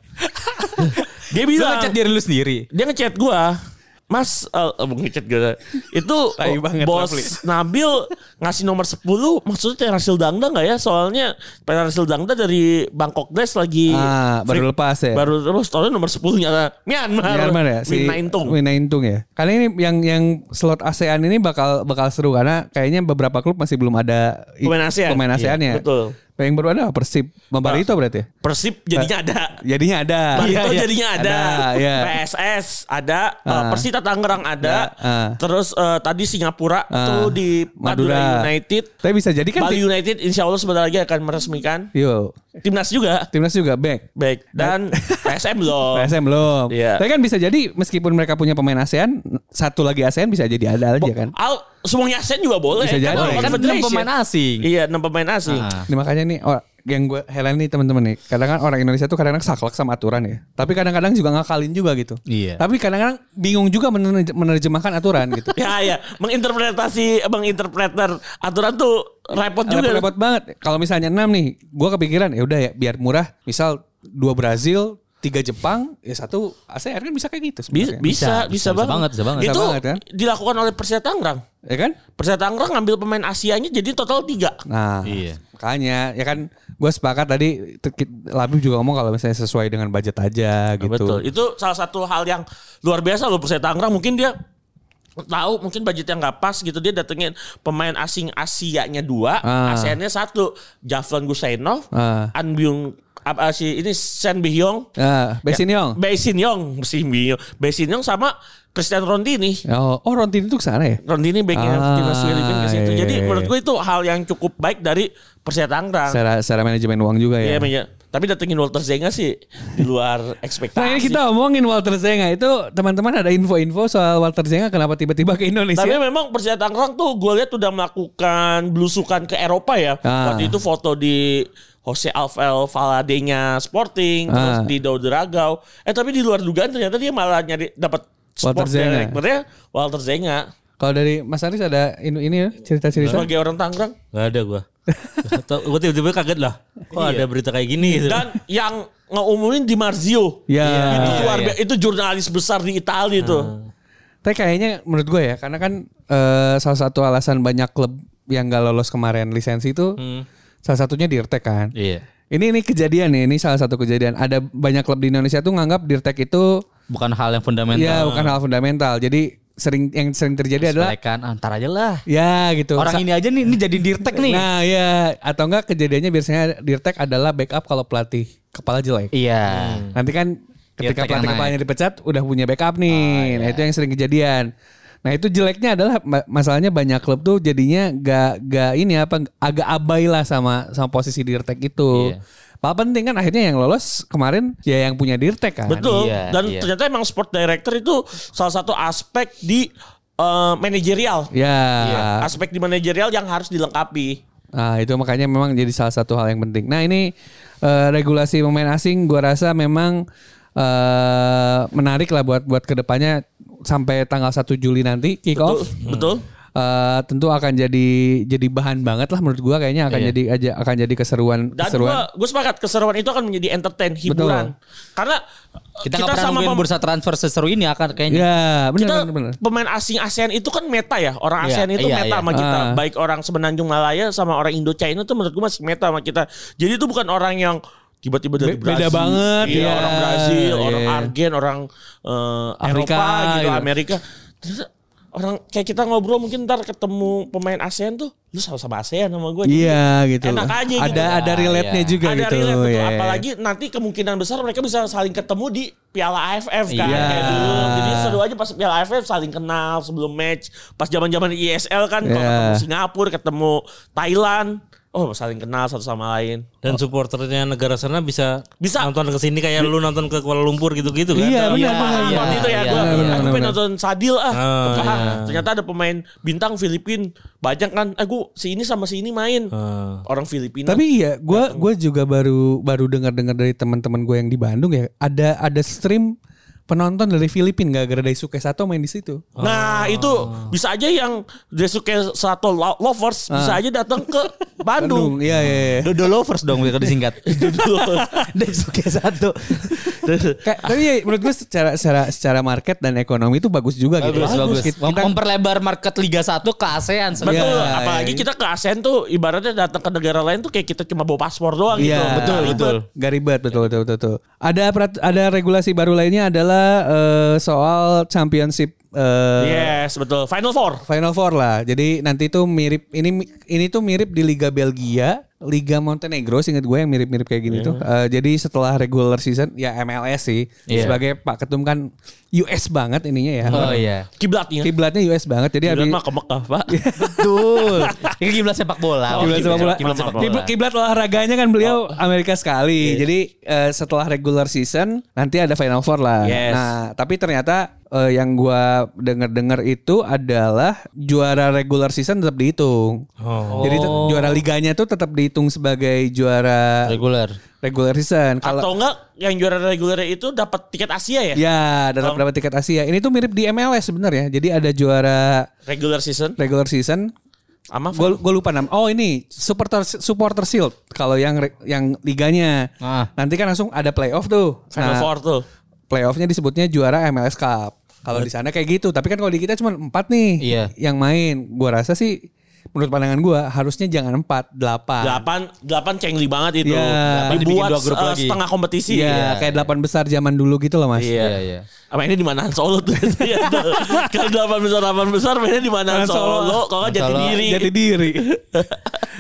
[SPEAKER 2] dia
[SPEAKER 4] Lu
[SPEAKER 2] bilang
[SPEAKER 4] ngechat diri lu sendiri.
[SPEAKER 2] dia ngechat gua Mas eh, eh, ngechat gua itu
[SPEAKER 1] Tai banget,
[SPEAKER 2] bos
[SPEAKER 1] Rafli.
[SPEAKER 2] Nabil ngasih nomor 10 maksudnya Terasil Dangda nggak ya soalnya Terasil Dangda dari Bangkok Dash lagi
[SPEAKER 1] Ah, baru lepas ya?
[SPEAKER 2] Iya. baru lepas tahunnya nomor 10 nyata Myanmar
[SPEAKER 1] Myanmar ya, si
[SPEAKER 2] Win Naintung.
[SPEAKER 1] Winaintung ya. Karena ini yang yang slot ASEAN ini bakal bakal seru karena kayaknya beberapa klub masih belum ada i-
[SPEAKER 2] Pemain ASEAN.
[SPEAKER 1] Pemain
[SPEAKER 2] Iya,
[SPEAKER 1] ASEAN ya.
[SPEAKER 2] betul.
[SPEAKER 1] Yang baru ada apa? Persib, Barito berarti ya?
[SPEAKER 2] Persib jadinya ada
[SPEAKER 1] Jadinya ada.
[SPEAKER 2] Barito jadinya ada,
[SPEAKER 1] ya.
[SPEAKER 2] PSS ada, eh,
[SPEAKER 1] iya. Ah.
[SPEAKER 2] Persita Tangerang ada,
[SPEAKER 1] Ya, ah.
[SPEAKER 2] terus eh, tadi Singapura itu di Madura, United,
[SPEAKER 1] Tapi bisa jadi kan
[SPEAKER 2] Bali
[SPEAKER 1] ti-
[SPEAKER 2] United insya Allah sebentar lagi akan meresmikan
[SPEAKER 1] Yo,
[SPEAKER 2] timnas juga,
[SPEAKER 1] timnas juga back.
[SPEAKER 2] baik dan PSM loh.
[SPEAKER 1] PSM Nah, belum.
[SPEAKER 2] Iya.
[SPEAKER 1] Tapi kan bisa jadi meskipun mereka punya pemain ASEAN, satu lagi ASEAN bisa jadi ada aja kan.
[SPEAKER 2] Al, semuanya ASEAN juga boleh.
[SPEAKER 1] Bisa jadi.
[SPEAKER 2] all
[SPEAKER 1] Boleh,
[SPEAKER 4] Kan enam
[SPEAKER 2] confederation.
[SPEAKER 4] pemain asing.
[SPEAKER 2] Iya, enam pemain asing.
[SPEAKER 4] Ah.
[SPEAKER 1] Ini Nah, makanya nih or- yang gue heran nih teman-teman nih. Kadang kan orang Indonesia tuh kadang-kadang saklek sama aturan ya. Tapi kadang-kadang juga ngakalin juga gitu.
[SPEAKER 4] Iya.
[SPEAKER 1] Tapi kadang-kadang bingung juga menerj- menerjemahkan aturan gitu.
[SPEAKER 2] Ya, ya, menginterpretasi, menginterpreter aturan tuh repot juga.
[SPEAKER 1] Repot-repot banget. Kalau misalnya 6 nih, gue kepikiran ya udah ya biar murah. Misal dua Brazil, tiga Jepang, ya satu ASEAN kan bisa kayak gitu
[SPEAKER 2] Bisa,
[SPEAKER 1] sebenarnya.
[SPEAKER 2] bisa, bisa,
[SPEAKER 4] bisa banget, bisa banget.
[SPEAKER 2] Itu
[SPEAKER 1] Bisa banget, kan?
[SPEAKER 2] dilakukan oleh Persita Tangerang.
[SPEAKER 1] Ya kan?
[SPEAKER 2] Persita Tangerang ngambil pemain Asianya jadi total tiga.
[SPEAKER 1] Nah,
[SPEAKER 4] Iya.
[SPEAKER 1] makanya ya kan gue sepakat tadi te- ki- Labib juga ngomong kalau misalnya sesuai dengan budget aja gitu.
[SPEAKER 2] Betul. Itu salah satu hal yang luar biasa loh Persita Tangerang. Mungkin dia tahu mungkin budget yang nggak pas gitu dia datengin pemain asing Asianya dua,
[SPEAKER 1] Ah.
[SPEAKER 2] ASEAN-nya satu, Javlon Gusainov,
[SPEAKER 1] Ah.
[SPEAKER 2] An Byung apa si ini Sen Bihyong,
[SPEAKER 1] Nah, Besin Yong.
[SPEAKER 2] Bae Sin Yong, si Bihyong, Bae Sin Yong sama Christian Rondini.
[SPEAKER 1] Oh, oh Rontini tuh kesana ya?
[SPEAKER 2] Rondini backnya
[SPEAKER 1] Ah,
[SPEAKER 2] timnas Filipina ke situ.
[SPEAKER 1] iya,
[SPEAKER 2] Jadi
[SPEAKER 1] iya, iya.
[SPEAKER 2] menurut gue itu hal yang cukup baik dari Persita Tangerang.
[SPEAKER 1] Secara, secara manajemen uang juga ya.
[SPEAKER 2] Iya, Menya. Tapi datengin Walter Zenga sih di luar ekspektasi.
[SPEAKER 1] Nah ini kita omongin Walter Zenga itu teman-teman ada info-info soal Walter Zenga kenapa tiba-tiba ke Indonesia?
[SPEAKER 2] Tapi memang Persija Tangerang tuh gue lihat udah melakukan belusukan ke Eropa ya.
[SPEAKER 1] Ah.
[SPEAKER 2] Waktu itu foto di Jose Alvel Valade-nya Sporting, terus
[SPEAKER 1] Ah.
[SPEAKER 2] di Daud Dragao. Eh tapi di luar dugaan ternyata dia malah nyari dapat
[SPEAKER 1] Walter
[SPEAKER 2] sport
[SPEAKER 1] Zenga.
[SPEAKER 2] directornya Walter Zenga
[SPEAKER 1] Kalau dari Mas Aris ada ini, ini ya, cerita-cerita.
[SPEAKER 2] sebagai orang Tangerang.
[SPEAKER 3] Gak ada gua. Atau gua tiba-tiba kaget lah. Kok
[SPEAKER 1] Iya.
[SPEAKER 3] ada berita kayak gini gitu.
[SPEAKER 2] Dan yang ngeumumin di Marzio.
[SPEAKER 1] Ya.
[SPEAKER 2] Itu
[SPEAKER 1] Iya, Ah.
[SPEAKER 2] luar biasa. Itu jurnalis besar di Italia itu.
[SPEAKER 1] Tapi kayaknya menurut gue ya karena kan eh, salah satu alasan banyak klub yang gak lolos kemarin lisensi itu
[SPEAKER 2] Hmm.
[SPEAKER 1] salah satunya Dirtek kan.
[SPEAKER 3] Iya.
[SPEAKER 1] Ini ini kejadian nih, ini salah satu kejadian. Ada banyak klub di Indonesia tuh nganggap Dirtek itu
[SPEAKER 4] bukan hal yang fundamental.
[SPEAKER 1] Ya bukan hal fundamental. Jadi sering yang sering terjadi adalah
[SPEAKER 4] Sepelekan antar "Ah, aja lah.
[SPEAKER 1] ya gitu.
[SPEAKER 4] Orang
[SPEAKER 1] Sa-
[SPEAKER 4] ini aja nih, ini jadi dirtek nih.
[SPEAKER 1] Nah ya atau enggak kejadiannya biasanya dirtek adalah backup kalau pelatih kepala jelek.
[SPEAKER 4] Iya.
[SPEAKER 1] Nanti kan ketika
[SPEAKER 4] Dirtek yang
[SPEAKER 1] pelatih
[SPEAKER 4] naik.
[SPEAKER 1] kepalanya dipecat udah punya backup nih. Nah itu yang sering kejadian. Nah itu jeleknya adalah ma- masalahnya banyak klub tuh jadinya gak gak ini apa agak abai lah sama sama posisi dirtek itu.
[SPEAKER 4] Iya.
[SPEAKER 1] Paling penting kan akhirnya yang lolos kemarin ya yang punya dirtek kan.
[SPEAKER 2] Betul.
[SPEAKER 4] Iya,
[SPEAKER 2] Dan
[SPEAKER 4] iya.
[SPEAKER 2] ternyata emang sport director itu salah satu aspek di eh, manajerial.
[SPEAKER 1] Ya.
[SPEAKER 4] Iya.
[SPEAKER 2] Aspek di manajerial yang harus dilengkapi.
[SPEAKER 1] Nah, itu makanya memang jadi salah satu hal yang penting. Nah, ini eh, regulasi pemain asing gua rasa memang eh, menarik lah buat buat kedepannya sampai tanggal 1 Juli nanti kick
[SPEAKER 2] Betul.
[SPEAKER 1] off.
[SPEAKER 4] Hmm.
[SPEAKER 2] Betul.
[SPEAKER 1] Eh, tentu akan jadi jadi bahan banget lah menurut gua kayaknya akan jadi aja akan jadi keseruan
[SPEAKER 2] Iya. Dan
[SPEAKER 1] keseruan.
[SPEAKER 2] gue gue sepakat keseruan itu akan menjadi entertain hiburan. Karena eh,
[SPEAKER 4] Kita, nggak pernah nungguin
[SPEAKER 2] pem-
[SPEAKER 4] bursa transfer seseru ini akan kayaknya.
[SPEAKER 1] Ya,
[SPEAKER 2] kita
[SPEAKER 1] benar benar benar.
[SPEAKER 2] pemain asing ASEAN itu kan meta ya orang
[SPEAKER 4] Iya,
[SPEAKER 2] ASEAN itu
[SPEAKER 4] iya,
[SPEAKER 2] meta
[SPEAKER 4] iya.
[SPEAKER 2] sama kita
[SPEAKER 1] Ah.
[SPEAKER 2] baik orang semenanjung Malaya sama orang Indo China tuh menurut gue masih meta sama kita jadi itu bukan orang yang tiba-tiba dari
[SPEAKER 1] Be-
[SPEAKER 2] Brazil
[SPEAKER 1] beda banget,
[SPEAKER 2] iya,
[SPEAKER 1] iya.
[SPEAKER 2] orang Brazil orang
[SPEAKER 1] Iya.
[SPEAKER 2] Argen orang eh,
[SPEAKER 1] Afrika,
[SPEAKER 2] Eropa gitu,
[SPEAKER 1] gitu.
[SPEAKER 2] Amerika Terus orang kayak kita ngobrol mungkin ntar ketemu pemain ASEAN tuh lu sama-sama ASEAN sama gue
[SPEAKER 1] Iya gitu.
[SPEAKER 2] Enak aja gitu.
[SPEAKER 1] Ada ada
[SPEAKER 4] Ya,
[SPEAKER 1] relate-nya
[SPEAKER 4] ya.
[SPEAKER 1] juga
[SPEAKER 2] ada
[SPEAKER 1] gitu.
[SPEAKER 2] relate betul.
[SPEAKER 1] ya.
[SPEAKER 2] Apalagi nanti kemungkinan besar mereka bisa saling ketemu di Piala AFF kan
[SPEAKER 4] Iya.
[SPEAKER 2] kayak dulu. Jadi seru aja pas Piala AFF saling kenal sebelum match. Pas zaman-zaman ISL kan kalau
[SPEAKER 1] Iya.
[SPEAKER 2] ketemu Singapura, ketemu Thailand, oh saling kenal satu sama lain.
[SPEAKER 3] Dan supporternya negara sana bisa
[SPEAKER 2] Bisa.
[SPEAKER 3] nonton ke sini kayak lu nonton ke Kuala Lumpur gitu-gitu kan.
[SPEAKER 1] Iya, benar
[SPEAKER 2] Ah,
[SPEAKER 1] benar.
[SPEAKER 4] iya.
[SPEAKER 2] waktu itu ya
[SPEAKER 4] iya,
[SPEAKER 2] gua,
[SPEAKER 1] benar, benar,
[SPEAKER 2] aku pengen
[SPEAKER 1] benar. Oh, iya.
[SPEAKER 2] nonton Sadil ah.
[SPEAKER 3] Ah,
[SPEAKER 2] Ah, Ternyata ada pemain bintang Filipin banyak kan. Eh gua si ini sama si ini main.
[SPEAKER 3] Ah.
[SPEAKER 2] Orang
[SPEAKER 1] Oh.
[SPEAKER 2] Filipina.
[SPEAKER 1] Tapi iya, gua gua juga baru baru dengar-dengar dari teman-teman gue yang di Bandung ya, ada ada stream penonton dari Filipina gak gara Daisuke Sato main di situ. Oh.
[SPEAKER 2] Nah itu bisa aja yang Desuke Sato lo- Lovers
[SPEAKER 1] Ah.
[SPEAKER 2] bisa aja datang ke Bandung.
[SPEAKER 1] Iya, iya. iya.
[SPEAKER 4] Dodo lovers dong kalau disingkat. Daisuke satu.
[SPEAKER 1] Kayak- tapi ya, menurut gue secara secara secara market dan ekonomi itu bagus juga gitu.
[SPEAKER 4] Bagus, bagus.
[SPEAKER 1] Kita-
[SPEAKER 4] Mem-
[SPEAKER 1] kita-
[SPEAKER 4] Memperlebar market Liga 1 ke ASEAN
[SPEAKER 2] Betul,
[SPEAKER 4] sebenarnya.
[SPEAKER 1] Iya,
[SPEAKER 2] apalagi
[SPEAKER 1] iya.
[SPEAKER 2] kita ke ASEAN tuh ibaratnya datang ke negara lain tuh kayak kita cuma bawa paspor doang
[SPEAKER 1] Iya,
[SPEAKER 2] gitu.
[SPEAKER 1] betul,
[SPEAKER 2] Ribet.
[SPEAKER 1] betul. Gak ribet, betul, betul, betul, betul. Ada perat- ada regulasi baru lainnya adalah eh, soal championship eh,
[SPEAKER 2] Yes, betul. Final Four.
[SPEAKER 1] Final Four lah. Jadi nanti tuh mirip ini ini tuh mirip di Liga Belgia, Liga Montenegro, seingat gue yang mirip-mirip kayak gini tuh. Eh, jadi setelah regular season ya MLS sih
[SPEAKER 4] Iya.
[SPEAKER 1] sebagai Pak Ketum kan US banget ininya ya.
[SPEAKER 4] Oh iya.
[SPEAKER 2] Kiblatnya.
[SPEAKER 1] Kiblatnya US banget. Jadi
[SPEAKER 2] Kiblat
[SPEAKER 1] habis
[SPEAKER 2] mah ke Mekah, Pak.
[SPEAKER 4] Betul. Ini kiblat sepak bola.
[SPEAKER 1] Kiblat sepak bola.
[SPEAKER 4] Kiblat sepak bola.
[SPEAKER 1] Kiblat, kiblat olahraganya kan beliau Amerika sekali. Jadi eh, setelah regular season nanti ada final four lah.
[SPEAKER 2] Yes.
[SPEAKER 1] Nah, tapi ternyata eh, yang gua dengar-dengar itu adalah juara regular season tetap dihitung. Jadi te- juara liganya tuh tetap dihitung sebagai juara
[SPEAKER 4] Reguler.
[SPEAKER 1] regular season. Kalau
[SPEAKER 2] Atau enggak yang juara reguler itu dapat tiket Asia ya?
[SPEAKER 1] ya dapat dapat tiket Asia. Ini tuh mirip di MLS sebenarnya. Jadi ada juara
[SPEAKER 2] Regular season
[SPEAKER 1] regular season
[SPEAKER 2] sama
[SPEAKER 1] Gue lupa nama. Oh ini supporter supporter shield kalau yang re- yang liganya.
[SPEAKER 4] Ah.
[SPEAKER 1] Nanti kan langsung ada playoff tuh.
[SPEAKER 2] Final
[SPEAKER 1] Nah,
[SPEAKER 2] Four tuh.
[SPEAKER 1] playoffnya disebutnya juara MLS Cup. Kalau di sana kayak gitu. Tapi kan kalau di kita cuma empat nih
[SPEAKER 4] Iya.
[SPEAKER 1] yang main. Gua rasa sih menurut pandangan gua harusnya jangan empat, delapan.
[SPEAKER 2] Delapan, delapan cengli banget itu.
[SPEAKER 1] Iya. Delapan
[SPEAKER 4] dibikin
[SPEAKER 2] Dibuat
[SPEAKER 4] dua grup
[SPEAKER 2] eh,
[SPEAKER 4] lagi.
[SPEAKER 2] setengah kompetisi.
[SPEAKER 1] Iya, kayak delapan besar zaman dulu gitu loh mas.
[SPEAKER 4] Iya, iya.
[SPEAKER 2] Apa ini di mana Solo tuh? Iya, tuh. Kalau delapan besar delapan besar mainnya di mana
[SPEAKER 1] Manan Solo.
[SPEAKER 2] Solo? Kalau nggak jadi
[SPEAKER 4] Solo.
[SPEAKER 2] diri.
[SPEAKER 1] Jadi diri.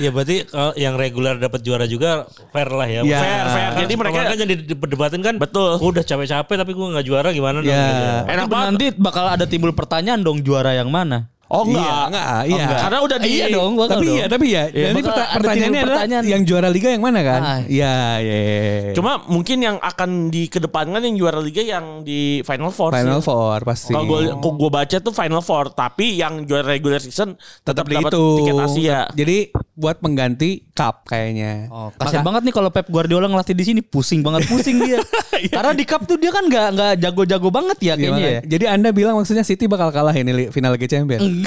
[SPEAKER 3] Ya berarti kalau yang reguler dapat juara juga fair lah ya.
[SPEAKER 1] Iya.
[SPEAKER 2] Fair, fair.
[SPEAKER 3] Jadi mereka kan jadi diperdebatin kan.
[SPEAKER 2] Betul.
[SPEAKER 3] Udah capek-capek tapi gua nggak juara gimana dong?
[SPEAKER 1] Iya.
[SPEAKER 3] gitu.
[SPEAKER 4] Enak banget. Nanti bakal ada timbul pertanyaan dong juara yang mana?
[SPEAKER 2] Oh enggak.
[SPEAKER 1] Iya, enggak, iya.
[SPEAKER 2] Karena udah di
[SPEAKER 4] Iya dong, bakal
[SPEAKER 1] tapi
[SPEAKER 4] dong.
[SPEAKER 1] ya, tapi ya.
[SPEAKER 4] Iya,
[SPEAKER 1] Jadi
[SPEAKER 4] bakal
[SPEAKER 1] perta-
[SPEAKER 4] ada
[SPEAKER 1] pertanyaannya
[SPEAKER 4] timbul
[SPEAKER 1] adalah
[SPEAKER 4] pertanyaan.
[SPEAKER 1] yang juara liga yang mana kan?
[SPEAKER 4] Ah.
[SPEAKER 1] Iya, iya.
[SPEAKER 2] Cuma mungkin yang akan dikedepankan yang juara liga yang di final four. sih.
[SPEAKER 1] Final Four pasti.
[SPEAKER 2] Kalau gue gue baca tuh final four, tapi yang juara regular season tetap,
[SPEAKER 1] tetap
[SPEAKER 2] dapat
[SPEAKER 1] dihitung.
[SPEAKER 2] tiket Asia.
[SPEAKER 1] gitu. Jadi buat pengganti cup kayaknya.
[SPEAKER 4] Oh, kasihan banget nih kalau Pep Guardiola ngelatih di sini pusing banget pusing dia. Karena di cup tuh dia kan nggak nggak jago-jago banget ya
[SPEAKER 1] Gimana
[SPEAKER 4] kayaknya.
[SPEAKER 1] ya? Jadi Anda bilang maksudnya City bakal kalah ini li- final Liga Champions?
[SPEAKER 2] Iya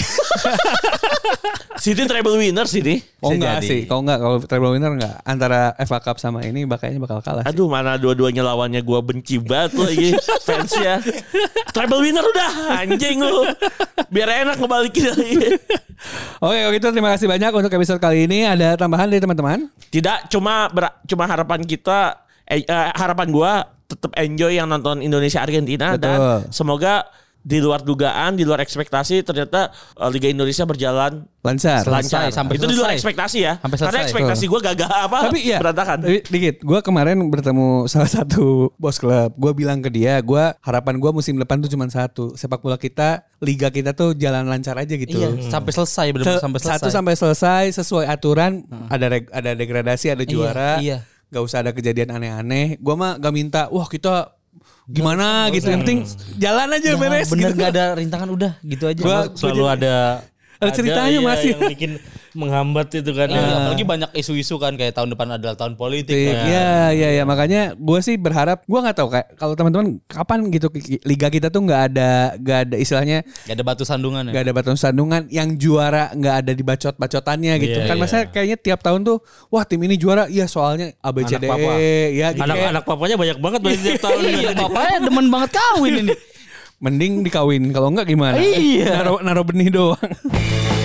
[SPEAKER 2] City treble winner sini.
[SPEAKER 1] Oh
[SPEAKER 4] Bisa
[SPEAKER 1] enggak
[SPEAKER 4] jadi.
[SPEAKER 1] sih, kalau enggak kalau treble winner enggak antara FA Cup sama ini bakanya bakal kalah. sih.
[SPEAKER 2] Aduh mana dua-duanya lawannya gue benci banget lagi fansnya. Treble winner udah anjing lu. Biar enak ngebalikin lagi.
[SPEAKER 1] Oke, kalau gitu terima kasih banyak untuk episode kali ini. Ada tambahan dari teman-teman?
[SPEAKER 2] Tidak cuma ber- cuma harapan kita eh, eh, harapan gua tetap enjoy yang nonton Indonesia Argentina dan
[SPEAKER 1] Betul.
[SPEAKER 2] semoga di luar dugaan, di luar ekspektasi ternyata eh, Liga Indonesia berjalan
[SPEAKER 1] lancar.
[SPEAKER 4] Selesai,
[SPEAKER 2] lancar.
[SPEAKER 4] sampai
[SPEAKER 2] itu di luar
[SPEAKER 4] selesai.
[SPEAKER 2] ekspektasi ya.
[SPEAKER 4] Sampai
[SPEAKER 2] Karena
[SPEAKER 4] selesai.
[SPEAKER 2] ekspektasi gue gagal apa
[SPEAKER 1] Tapi iya,
[SPEAKER 2] berantakan.
[SPEAKER 1] tapi dikit. Gue kemarin bertemu salah satu bos klub. Gue bilang ke dia, gue harapan gue musim depan tuh cuma satu. Sepak bola kita, liga kita tuh jalan lancar aja gitu.
[SPEAKER 4] Iya, sampai selesai benar
[SPEAKER 1] Se-
[SPEAKER 4] sampai selesai.
[SPEAKER 1] Eh,
[SPEAKER 4] Hmm.
[SPEAKER 1] Satu sampai selesai sesuai aturan. Ada reg- ada degradasi, ada juara.
[SPEAKER 4] iya.
[SPEAKER 1] Gak usah ada kejadian aneh-aneh. Gue mah gak minta. Wah kita gimana gitu. Yang penting jalan aja
[SPEAKER 4] Ya,
[SPEAKER 1] beres.
[SPEAKER 4] bener
[SPEAKER 1] gitu.
[SPEAKER 4] nggak ada rintangan udah gitu aja.
[SPEAKER 1] Gua-
[SPEAKER 3] selalu ada
[SPEAKER 1] Ada ceritanya
[SPEAKER 3] iya,
[SPEAKER 1] masih.
[SPEAKER 3] yang bikin menghambat itu kan.
[SPEAKER 4] Iya, apalagi banyak isu-isu kan kayak tahun depan adalah tahun politik.
[SPEAKER 1] Iya, iya, iya. Ya. Makanya gue sih berharap, gue nggak tahu kayak kalau teman-teman kapan gitu ki- ki- liga kita tuh nggak ada, nggak ada istilahnya
[SPEAKER 4] Gak ada batu sandungan ya.
[SPEAKER 1] nggak ada batu sandungan, yang juara nggak ada di bacot-bacotannya gitu.
[SPEAKER 3] Iya,
[SPEAKER 1] kan
[SPEAKER 3] iya.
[SPEAKER 1] masa kayaknya tiap tahun tuh, wah tim ini juara, iya soalnya ABCDE,
[SPEAKER 3] Papa.
[SPEAKER 1] ya gitu. kayak,
[SPEAKER 3] Anak-anak papanya banyak banget dari tiap tahun.
[SPEAKER 4] Iya, papanya demen banget kawin ini.
[SPEAKER 1] Mending dikawin, kalau enggak gimana?
[SPEAKER 4] Iya.
[SPEAKER 1] Naro, naro benih doang.